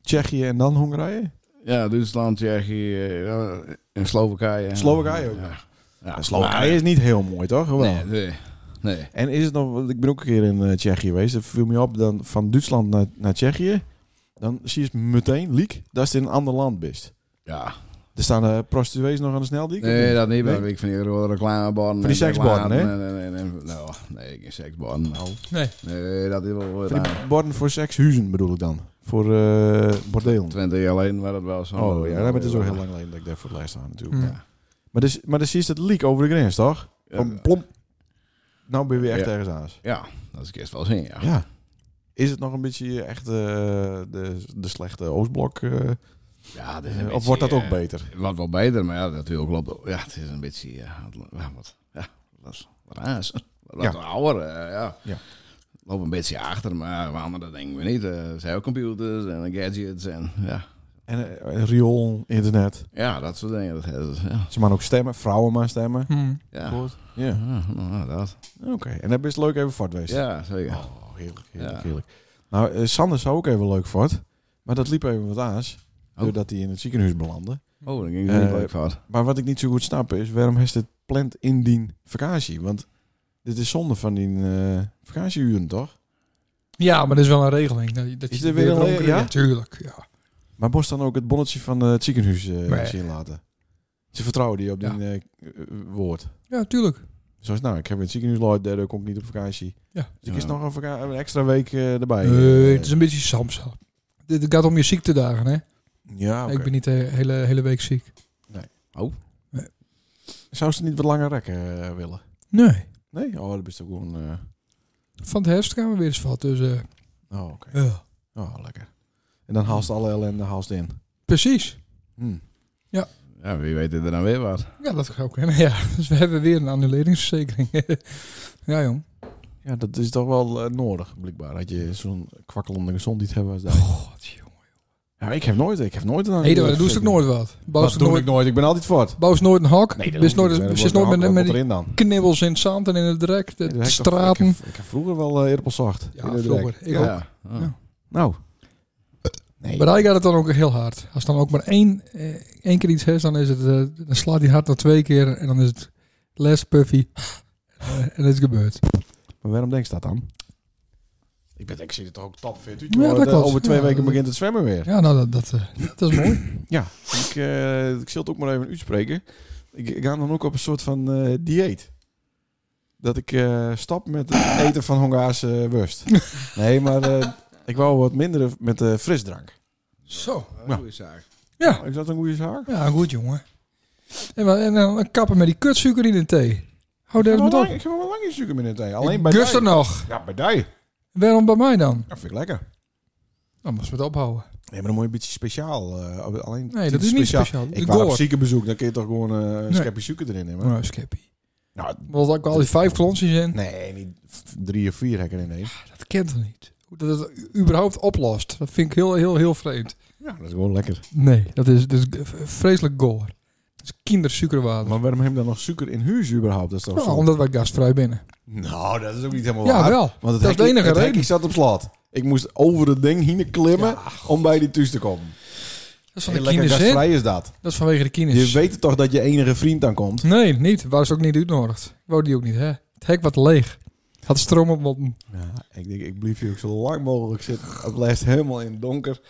Speaker 2: Tsjechië en dan Hongarije?
Speaker 4: Ja, Duitsland, Tsjechië, eh, en Slowakije.
Speaker 2: Slowakije ook.
Speaker 4: Ja. Ja,
Speaker 2: Slowakije is niet heel mooi, toch? Wel.
Speaker 4: maar- Nee, nee. nee.
Speaker 2: En is het nog, want ik ben ook een keer in eh, Tsjechië geweest, dat viel me op, dan van Duitsland naar, naar Tsjechië, dan zie je meteen, liek, dat ze in een ander land bist.
Speaker 4: Ja.
Speaker 2: Er staan eh, prostituees nog aan de sneldiek.
Speaker 4: Nee, dat niet.
Speaker 2: Nee?
Speaker 4: maar Ik vind hier wel reclameborden.
Speaker 2: Van die
Speaker 4: en
Speaker 2: seksborden, hè? Oh.
Speaker 4: reclame- Nee, nee, nee. nee, Nou, nee, geen seksborden. Nou.
Speaker 1: Nee.
Speaker 4: Nee, dat is wel...
Speaker 2: Van
Speaker 4: nou,
Speaker 2: die borden voor sekshuizen bedoel ik dan. Voor eh bordelen.
Speaker 4: 20 jaar geleden was dat wel zo.
Speaker 2: Oh ja, dat is ook heel lang geleden dat ik daar voor het lijst aan natuurlijk.
Speaker 1: Mm.
Speaker 4: Ja.
Speaker 2: Maar, dus, maar dan zie je het liek over de grens, toch? Van
Speaker 4: Ja,
Speaker 2: plomp. Nou ben je weer echt
Speaker 4: Ja.
Speaker 2: ergens aan.
Speaker 4: ja, dat is eerst wel zin, ja.
Speaker 2: Ja. Is het nog een beetje echt eh, de, de slechte Oostblok? eh,
Speaker 4: ja
Speaker 2: of
Speaker 4: dat is een beetje,
Speaker 2: wordt dat ook
Speaker 4: eh,
Speaker 2: beter?
Speaker 4: Wat wel beter, maar ja, natuurlijk klopt ook. Ja, het is een beetje... Ja, wat, ja, wat, ja, wat, is- wat raars. Wat
Speaker 2: Ja.
Speaker 4: ouder, eh, ja.
Speaker 2: Ja.
Speaker 4: Loop een beetje achter, maar waarom dat denken we niet. Eh, Er zijn ook computers en gadgets en ja,
Speaker 2: En eh, riool, internet.
Speaker 4: ja dat soort dingen. Dat hebben ze, ja.
Speaker 2: Ze maar ook stemmen, vrouwen maar stemmen.
Speaker 1: Hm.
Speaker 4: Ja.
Speaker 2: Goed. Ja,
Speaker 4: Ja, nou, dat.
Speaker 2: oké. En dat is leuk even voort geweest.
Speaker 4: Ja, zeker.
Speaker 2: Oh, heerlijk, heerlijk,
Speaker 4: Ja.
Speaker 2: heerlijk. Nou, eh, Sander zou ook even leuk voort. Maar dat liep even wat aans.
Speaker 4: Oh.
Speaker 2: Doordat hij in het ziekenhuis belandde.
Speaker 4: Oh, dan ging het niet
Speaker 2: Eh,
Speaker 4: leuk fout.
Speaker 2: Maar wat ik niet zo goed snap is, waarom heeft het plant in die vakantie? Want dit is zonde van die eh vakantieuren, toch?
Speaker 1: Ja, maar dat is wel een regeling. Dat, je- dat
Speaker 2: Is
Speaker 1: je
Speaker 2: er weer een
Speaker 1: dronken-
Speaker 2: le- ja?
Speaker 1: tuurlijk. Ja.
Speaker 2: Maar moest dan ook het bonnetje van eh, het ziekenhuis eh,
Speaker 1: Nee.
Speaker 2: zien laten? Ze vertrouwen die op
Speaker 1: Ja.
Speaker 2: die eh, eh, woord.
Speaker 1: ja, tuurlijk.
Speaker 2: Zoals nou, ik heb in het ziekenhuis loopt, daar kom ik niet op vakantie.
Speaker 1: Ja.
Speaker 2: Dus ik is
Speaker 4: Ja.
Speaker 2: nog een, vaka- een extra week eh, erbij.
Speaker 1: Nee,
Speaker 2: Eh,
Speaker 1: het is een beetje samsa. Dit gaat om je ziektedagen, hè?
Speaker 2: Ja, Ah, oké.
Speaker 1: Ik ben niet de hele, hele week ziek.
Speaker 2: Zou ze niet wat langer rekken eh, willen?
Speaker 1: Nee.
Speaker 2: Nee? Oh, dat is toch gewoon... eh,
Speaker 1: Van de herfst gaan we weer eens wat. Dus, eh,
Speaker 2: Oh, oké.
Speaker 1: ja.
Speaker 2: Oh, lekker. En dan haalt ze alle ellende haalt ze in.
Speaker 1: Precies.
Speaker 2: Hm.
Speaker 4: Ja, wie weet er dan weer wat.
Speaker 1: Ja, dat gaat ook. Hè? Ja, dus we hebben weer een annuleringsverzekering. ja, jong.
Speaker 2: Ja, dat is toch wel eh, nodig, blijkbaar. Dat je zo'n kwakkelende gezondheid hebt als dat.
Speaker 1: God, Oh, jongen.
Speaker 2: Ja, ik heb nooit, ik heb nooit een...
Speaker 1: Nee, dat doe je toch nooit wat? Bouw
Speaker 2: Dat
Speaker 1: ze
Speaker 2: doe
Speaker 1: nooit,
Speaker 2: ik nooit, ik ben altijd voort.
Speaker 1: bouw ze nooit een hak?
Speaker 2: Nee, dat
Speaker 1: Bist
Speaker 2: hoeft
Speaker 1: nooit,
Speaker 2: niet.
Speaker 1: zit
Speaker 2: Dat
Speaker 1: nooit,
Speaker 2: wordt
Speaker 1: met,
Speaker 2: wel-
Speaker 1: met die
Speaker 2: wat erin dan?
Speaker 1: knibbels in het zand en in het drek, de,
Speaker 2: Ja, dat
Speaker 1: de
Speaker 2: heb ik toch-
Speaker 1: straten.
Speaker 2: Ik heb, ik heb vroeger wel eh eerpels zacht.
Speaker 1: ja, vroeger. Ik ook.
Speaker 4: ja. Ah.
Speaker 1: Ja.
Speaker 2: Nou. Nee.
Speaker 1: Maar hij gaat het dan ook heel hard. Als dan ook maar één, eh, één keer iets is, dan, is het, eh, dan slaat hij hard nog twee keer en dan is het les puffy. Eh, en het is gebeurd.
Speaker 2: Maar waarom denk je dat dan? Ik, ben, ik zie het toch ook topfit uit.
Speaker 1: Ja,
Speaker 2: joh.
Speaker 1: dat
Speaker 2: De-
Speaker 1: klopt.
Speaker 2: Over twee
Speaker 1: Ja,
Speaker 2: weken
Speaker 1: dat-
Speaker 2: begint het zwemmen weer.
Speaker 1: Ja, nou, dat, dat, eh, dat is mooi.
Speaker 2: Ja, ik, eh, ik zal het ook maar even uitspreken. Ik, ik ga dan ook op een soort van eh, dieet. Dat ik eh, stap met het eten van Hongaarse eh, worst. Nee, maar eh, ik wou wat minder met de frisdrank.
Speaker 1: Zo.
Speaker 2: Ja.
Speaker 4: Goeie zaak.
Speaker 1: Ja,
Speaker 2: Is dat een goede zaak?
Speaker 1: ja goed jongen. En, wa- en dan kappen met die kutsuiker in de thee. Hou daar
Speaker 2: Ik
Speaker 1: eens met
Speaker 2: heb wel
Speaker 1: op.
Speaker 2: lang- ik heb wel lang geen suiker meer in thee. Alleen bij
Speaker 1: Gust er
Speaker 2: die.
Speaker 1: nog.
Speaker 2: Ja, bij die.
Speaker 1: Waarom bij mij dan?
Speaker 2: Dat vind ik lekker.
Speaker 1: Dan moest we het ophouden.
Speaker 2: Nee, maar dan moet je een beetje speciaal. eh, alleen
Speaker 1: Nee, dat is niet speciaal.
Speaker 2: Ik
Speaker 1: Ik
Speaker 2: wou op
Speaker 1: goor.
Speaker 2: ziekenbezoek, dan kun je toch gewoon eh, een
Speaker 1: Nee.
Speaker 2: schepje suiker erin hebben.
Speaker 1: Nou, Skeppie.
Speaker 2: Nou,
Speaker 1: Want ik al die vijf klontjes in.
Speaker 2: nee, niet f- drie of vier hekken in één.
Speaker 1: Dat kent er niet. Hoe dat het überhaupt oplost. Dat vind ik heel, heel, heel vreemd.
Speaker 2: Ja, dat is gewoon lekker.
Speaker 1: Nee, dat is, dat is vreselijk goor. Dat is kindersuikerwater.
Speaker 2: Maar waarom hebben we dan nog suiker in huis überhaupt? Dat is toch
Speaker 1: Nou,
Speaker 2: zo-
Speaker 1: omdat wij gastvrij binnen.
Speaker 2: Nou, dat is ook niet helemaal
Speaker 1: Ja,
Speaker 2: waar.
Speaker 1: wel.
Speaker 2: Want het
Speaker 1: Dat is de
Speaker 2: hekje-
Speaker 1: enige
Speaker 2: het
Speaker 1: reden.
Speaker 2: hekje zat op slot. Ik moest over het ding heen klimmen om bij die thuis te komen.
Speaker 1: Dat is van
Speaker 2: Heel
Speaker 1: de
Speaker 2: lekker
Speaker 1: kinders hè?
Speaker 2: gastvrij is dat.
Speaker 1: Dat is vanwege de
Speaker 2: Je
Speaker 1: kinders.
Speaker 2: weet toch dat je enige vriend dan komt?
Speaker 1: Nee, niet. Waar is ook niet uitnodigd. Ik wou die ook niet, hè. Het hek wat leeg. Had stroom op moeten.
Speaker 2: Ja, ik denk, ik blijf hier ook zo lang mogelijk zitten. Het blijft helemaal in het donker.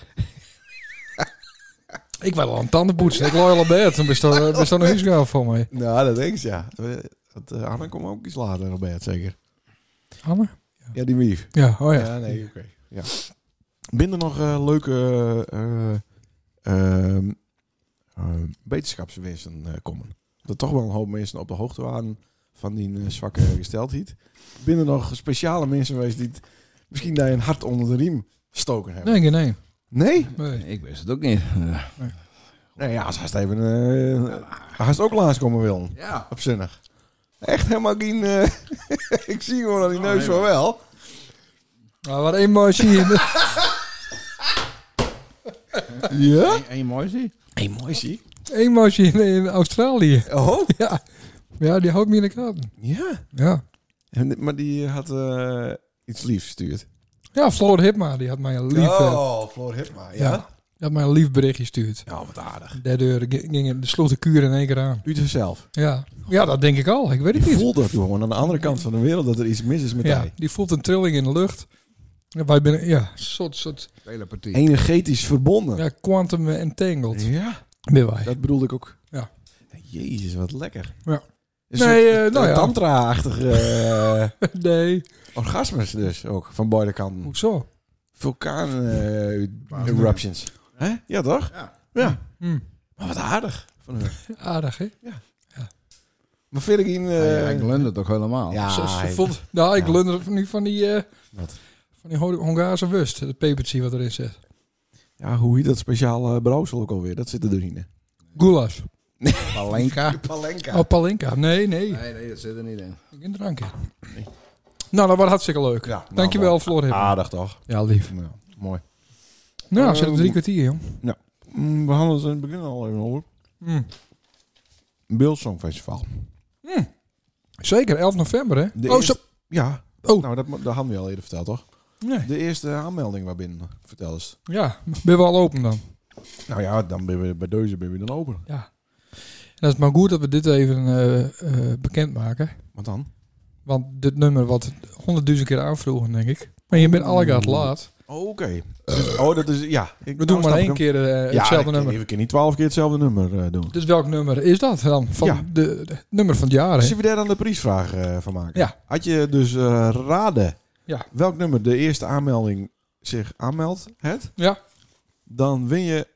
Speaker 1: Ik wil al aan tanden poetsen. Ik looi al op bed. Dan is dat is dat een huisgaal voor mij.
Speaker 2: Nou, dat denk ik, ja. Dat, eh, Anne komt ook iets later naar bed, zeker.
Speaker 1: Anne?
Speaker 2: Ja, die wief.
Speaker 1: Ja, oh ja.
Speaker 2: Ja, nee, oké. Ja. Binnen nog eh, leuke eh, eh, ehm, eh, wetenschapswensen eh, komen. Dat toch wel een hoop mensen op de hoogte waren van die eh, zwakke gesteldheid. Binnen nog speciale mensen geweest die het misschien daar een hart onder de riem stoken hebben.
Speaker 1: Nee, nee, nee.
Speaker 2: Nee?
Speaker 1: Nee.
Speaker 4: Ik wist het ook niet. Eh,
Speaker 2: Nee, ja, als hij het even... eh als hij ook langskomen wil.
Speaker 4: Ja.
Speaker 2: Opzinnig. Echt helemaal geen... eh, ik zie gewoon aan die neus
Speaker 4: nee,
Speaker 2: van wel.
Speaker 1: Maar wat één mooi zie je.
Speaker 2: Ja?
Speaker 4: En je mooi zie?
Speaker 2: Hey, mooi zie.
Speaker 1: Eén mooi zie je in Australië.
Speaker 2: Oh?
Speaker 1: Ja. Ja, die houdt me in de gaten.
Speaker 2: Ja.
Speaker 1: Ja.
Speaker 2: En dit- maar die had eh, iets liefs gestuurd.
Speaker 1: Ja, Floor Hipma, die had mij een lief, eh,
Speaker 2: Oh, Floor Hipma,
Speaker 1: ja.
Speaker 2: ja.
Speaker 1: die had mij een lief berichtje gestuurd.
Speaker 2: Nou, wat aardig.
Speaker 1: Daardoor g- ging de sloeg de kuur in één keer aan.
Speaker 2: U dus zelf.
Speaker 1: Ja. ja, dat denk ik al. Ik weet
Speaker 2: Je
Speaker 1: het niet.
Speaker 2: voelt dat gewoon aan de andere kant van de wereld dat er iets mis is met
Speaker 1: Ja,
Speaker 2: hij.
Speaker 1: die voelt een trilling in de lucht. Ja, wij binnen, ja, soort, soort
Speaker 4: Telepathie.
Speaker 2: Energetisch verbonden.
Speaker 1: ja, quantum eh, entangled.
Speaker 2: Ja,
Speaker 1: Ben wij.
Speaker 2: dat bedoelde ik ook.
Speaker 1: Ja.
Speaker 2: Jezus, wat lekker.
Speaker 1: Ja.
Speaker 2: Een
Speaker 1: Nee,
Speaker 2: soort-
Speaker 1: eh,
Speaker 2: een
Speaker 1: nou ja.
Speaker 2: Tantra-achtige eh,
Speaker 1: nee,
Speaker 2: orgasmes dus ook, van beide kanten.
Speaker 1: hoezo?
Speaker 2: Vulkaan-eruptions. Hè? ja, toch?
Speaker 4: Ja.
Speaker 2: Ja.
Speaker 1: Hm.
Speaker 2: Maar wat aardig. Van hun.
Speaker 1: Aardig, hè?
Speaker 2: Maar eh, vind ik in...
Speaker 4: Ja, eh, ik lende het toch helemaal.
Speaker 2: ja,
Speaker 1: Zo- zo
Speaker 2: hij-
Speaker 1: voelt, nou, ik
Speaker 2: ja.
Speaker 1: lunder nu van die, eh,
Speaker 2: Wat?
Speaker 1: van die Hong- Hongaarse wust. Het pepertje wat erin zit.
Speaker 2: ja, hoe heet dat speciale brouwsel ook alweer? Dat zit er doorheen. hè?
Speaker 1: Goulas.
Speaker 4: Palenka.
Speaker 2: Palenka.
Speaker 1: Oh, palinka. Nee, nee.
Speaker 4: Nee, nee, dat zit er niet in.
Speaker 1: Geen drankje. Nou, dat was hartstikke leuk.
Speaker 2: Ja, nou,
Speaker 1: Dankjewel, Floor Hipma.
Speaker 2: Aardig toch?
Speaker 1: Ja, lief.
Speaker 2: Ja, mooi.
Speaker 1: Nou,
Speaker 2: Ehm,
Speaker 1: zitten drie kwartier, jong.
Speaker 2: Mm, We hadden het in het begin al even over.
Speaker 1: Mm.
Speaker 2: Beeld Songfestival.
Speaker 1: Hm. Zeker, 11 november, hè?
Speaker 2: De
Speaker 1: oh,
Speaker 2: eerste-
Speaker 1: zo-
Speaker 2: Ja.
Speaker 1: Oh.
Speaker 2: Nou, dat, mo- dat hadden we al eerder verteld, toch?
Speaker 1: Nee.
Speaker 2: De eerste aanmelding waarbinnen, vertel eens.
Speaker 1: Ja, ben we al open dan.
Speaker 2: Nou ja, dan ben je bij deze ben je dan open.
Speaker 1: Ja. En dat is maar goed dat we dit even eh eh bekendmaken.
Speaker 2: Want dan?
Speaker 1: Want dit nummer wat honderdduizend keer aanvroegen, denk ik. Maar je bent allegaat laat.
Speaker 2: Oh, Oké. Dus- oh, dat is... Ja. Ik,
Speaker 1: We doen maar één keer eh, hetzelfde nummer.
Speaker 2: We kunnen niet twaalf keer hetzelfde nummer eh, doen.
Speaker 1: Dus welk nummer is dat dan? Van
Speaker 2: Ja.
Speaker 1: de, de- nummer van het jaar, hè?
Speaker 2: Zullen we daar dan de prijsvraag eh, van maken?
Speaker 1: Ja.
Speaker 2: Had je dus eh, raden
Speaker 1: Ja.
Speaker 2: welk nummer de eerste aanmelding zich aanmeldt, het,
Speaker 1: Ja.
Speaker 2: dan win je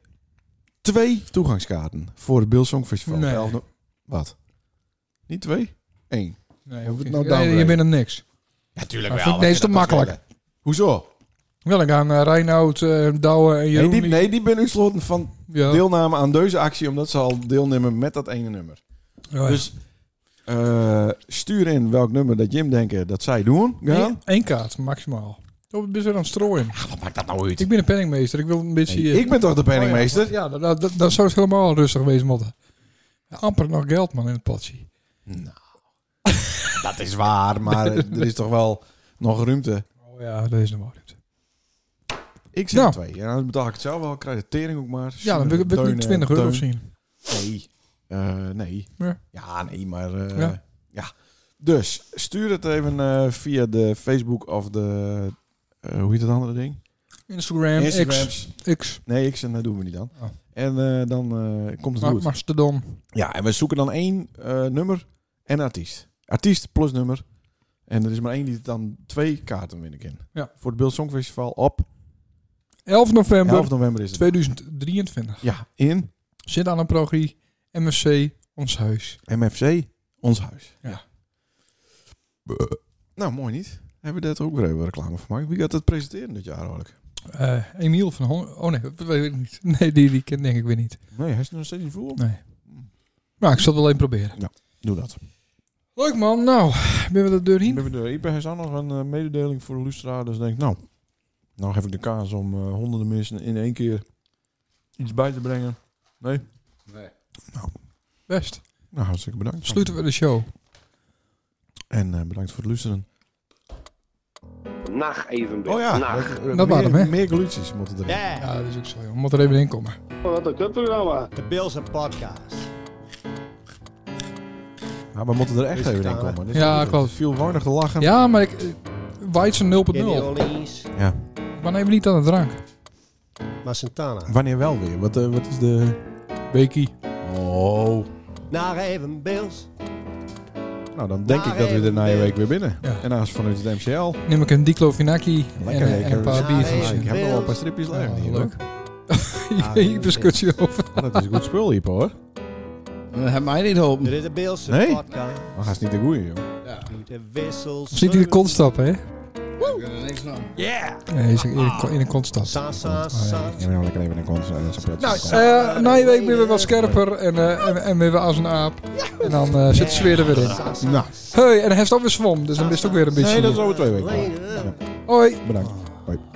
Speaker 2: twee toegangskaarten voor het Beeld Songfestival.
Speaker 1: Nee.
Speaker 2: Elf no- Wat? Niet twee? Eén.
Speaker 1: Nee,
Speaker 2: Hoe we het
Speaker 1: oké.
Speaker 2: nou
Speaker 1: Nee,
Speaker 2: downraden?
Speaker 1: je bent er niks.
Speaker 2: Natuurlijk
Speaker 1: Maar wel, vind ik want deze je te dat makkelijk. Ah. toch
Speaker 2: Hoezo?
Speaker 1: Wel, dan gaan eh, Reinoud, eh Douwe en
Speaker 2: Nee
Speaker 1: Jeroen...
Speaker 2: die,
Speaker 1: die-
Speaker 2: nee, die ben uitsloten van
Speaker 1: ja.
Speaker 2: deelname aan deze actie, omdat ze al deelnemen met dat ene nummer.
Speaker 1: Oh, ja.
Speaker 2: Dus eh, stuur in welk nummer dat Jim denken dat zij doen. gaan.
Speaker 1: Eén- één kaart, maximaal. Oh, ik ben weer aan het strooien.
Speaker 2: Ah, wat maakt dat nou uit?
Speaker 1: Ik ben een penningmeester. Ik wil een beetje... eh,
Speaker 2: ik ben toch de penningmeester?
Speaker 1: Ja, dat, dat, dat, dat zou het helemaal rustig wezen moeten. Ja, amper nog geld, man, in het potje.
Speaker 2: Nou, dat is waar, maar er is toch wel nog ruimte.
Speaker 1: Oh ja, dat is nog wel goed.
Speaker 2: Ik zeg
Speaker 1: Nou.
Speaker 2: twee. Ja, dan betaal ik het zelf wel. Krijg de tering ook maar.
Speaker 1: Ja, dan wil ik- wil ik
Speaker 2: Teun,
Speaker 1: niet 20
Speaker 2: eh,
Speaker 1: euro
Speaker 2: Teun.
Speaker 1: zien.
Speaker 2: Nee. Eh, nee. Ja.
Speaker 1: Ja.
Speaker 2: nee, maar... eh, ja.
Speaker 1: Ja.
Speaker 2: Dus, stuur het even eh, via de Facebook of de... eh, hoe heet dat andere ding?
Speaker 1: Instagram, X,
Speaker 2: Instagrams.
Speaker 1: X,
Speaker 2: Nee, ik en dat doen we niet dan.
Speaker 1: Oh.
Speaker 2: En eh, dan eh, komt het
Speaker 1: Ma-
Speaker 2: goed.
Speaker 1: Mastodon.
Speaker 2: Ja, en we zoeken dan één eh, nummer en artiest. Artiest plus nummer. En er is maar één die dan twee kaarten winnen kan.
Speaker 1: Ja.
Speaker 2: Voor het Beeld Songfestival op
Speaker 1: 11 november
Speaker 2: 11 november is het.
Speaker 1: 2023.
Speaker 2: Ja, in
Speaker 1: Zit aan een progrie, MSC, ons huis.
Speaker 2: MFC, ons huis. Eh,
Speaker 1: Ja.
Speaker 2: Buh. Nou, mooi niet. Hebben we daar ook weer even reclame van gemaakt. Wie gaat dat presenteren dit jaar eigenlijk?
Speaker 1: eh, Emiel van Hon... Oh nee, dat weet ik niet. Nee, die, die ken denk ik weer niet.
Speaker 2: Nee, hij is nog steeds niet voor.
Speaker 1: Nee. Maar ik zal het wel even proberen.
Speaker 2: Doe dat.
Speaker 1: Leuk man. Nou, ben we de deur
Speaker 2: Ik
Speaker 1: heen?
Speaker 2: ben weer door. Ipe, hij zou nog een eh, mededeling voor de luisteraar. Dus ik denk, nou, nou heb ik de kaas om eh, honderden mensen in één keer iets bij te brengen.
Speaker 4: Nee.
Speaker 1: Best.
Speaker 2: Nou, hartstikke bedankt.
Speaker 1: Sluiten we de show.
Speaker 2: En eh, bedankt voor het luisteren.
Speaker 6: Nacht even
Speaker 2: Oh ja,
Speaker 6: Nacht.
Speaker 2: dat- eh,
Speaker 1: Nou, Dat
Speaker 2: meer,
Speaker 1: waren hem, hè?
Speaker 2: meer glutjes moeten erin.
Speaker 3: Yeah,
Speaker 1: Ja, dat is ook zo. joh. We moeten er even in komen.
Speaker 6: Wat een kutprogramma.
Speaker 3: de Bills een podcast.
Speaker 2: Ja, we moeten er echt
Speaker 3: Is
Speaker 2: even in
Speaker 3: gedaan, hè?
Speaker 2: komen. Dit is
Speaker 1: Ja,
Speaker 2: goed.
Speaker 1: klopt.
Speaker 2: Het viel warnig te lachen.
Speaker 1: Ja, maar ik... eh, Weidse 0.0.
Speaker 3: Kenny Orleans,
Speaker 2: Ja.
Speaker 1: Ik ben even niet aan de drank.
Speaker 3: maar Santana.
Speaker 2: Wanneer wel weer? Wat, eh, wat is de...
Speaker 1: Bekie.
Speaker 2: Oh.
Speaker 3: Naar even Bills.
Speaker 2: Nou, dan denk
Speaker 3: Maar
Speaker 2: ik dat we de
Speaker 3: even
Speaker 2: na je
Speaker 3: weer.
Speaker 2: week weer binnen.
Speaker 1: Ja.
Speaker 2: En naast vanuit het MCL.
Speaker 1: Neem ik een diclofenaki en,
Speaker 2: Lekker.
Speaker 1: eh,
Speaker 2: ik
Speaker 1: en een
Speaker 2: heb
Speaker 1: paar
Speaker 3: Ja,
Speaker 1: biertjes.
Speaker 3: nee,
Speaker 2: Ik heb nog wel een paar stripjes
Speaker 1: Ja,
Speaker 2: liggen hier.
Speaker 1: leuk.
Speaker 2: hoor.
Speaker 1: Hier discussie over.
Speaker 2: Maar Dat is een goed spul hier, hoor.
Speaker 4: Dat heb mij niet hopen.
Speaker 3: Dit is de Bills
Speaker 2: Nee?
Speaker 3: podcast.
Speaker 2: Maar ga eens niet de goeie, joh.
Speaker 4: Ja,
Speaker 3: Doet de wissels.
Speaker 1: Of niet in de kont stappen, hè?
Speaker 4: ik kan er niks van.
Speaker 1: Nee, is in de, in de kont stappen.
Speaker 3: Sa, sa, sa.
Speaker 2: Ik heb nou lekker even een concert en zo'n
Speaker 1: Nou,
Speaker 2: pretje.
Speaker 1: eh na je week ben we wat scherper en, eh en, en weer we als een aap. En dan eh, zit de sfeer er weer in.
Speaker 3: Sa, sa,
Speaker 2: Nou.
Speaker 3: sa.
Speaker 1: Hé, hey, en hij is ook weer zwom, dus dan is het ook weer een beetje...
Speaker 2: Nee, dat is over twee weken.
Speaker 3: Later.
Speaker 2: Ja,
Speaker 1: Hoi!
Speaker 2: bedankt.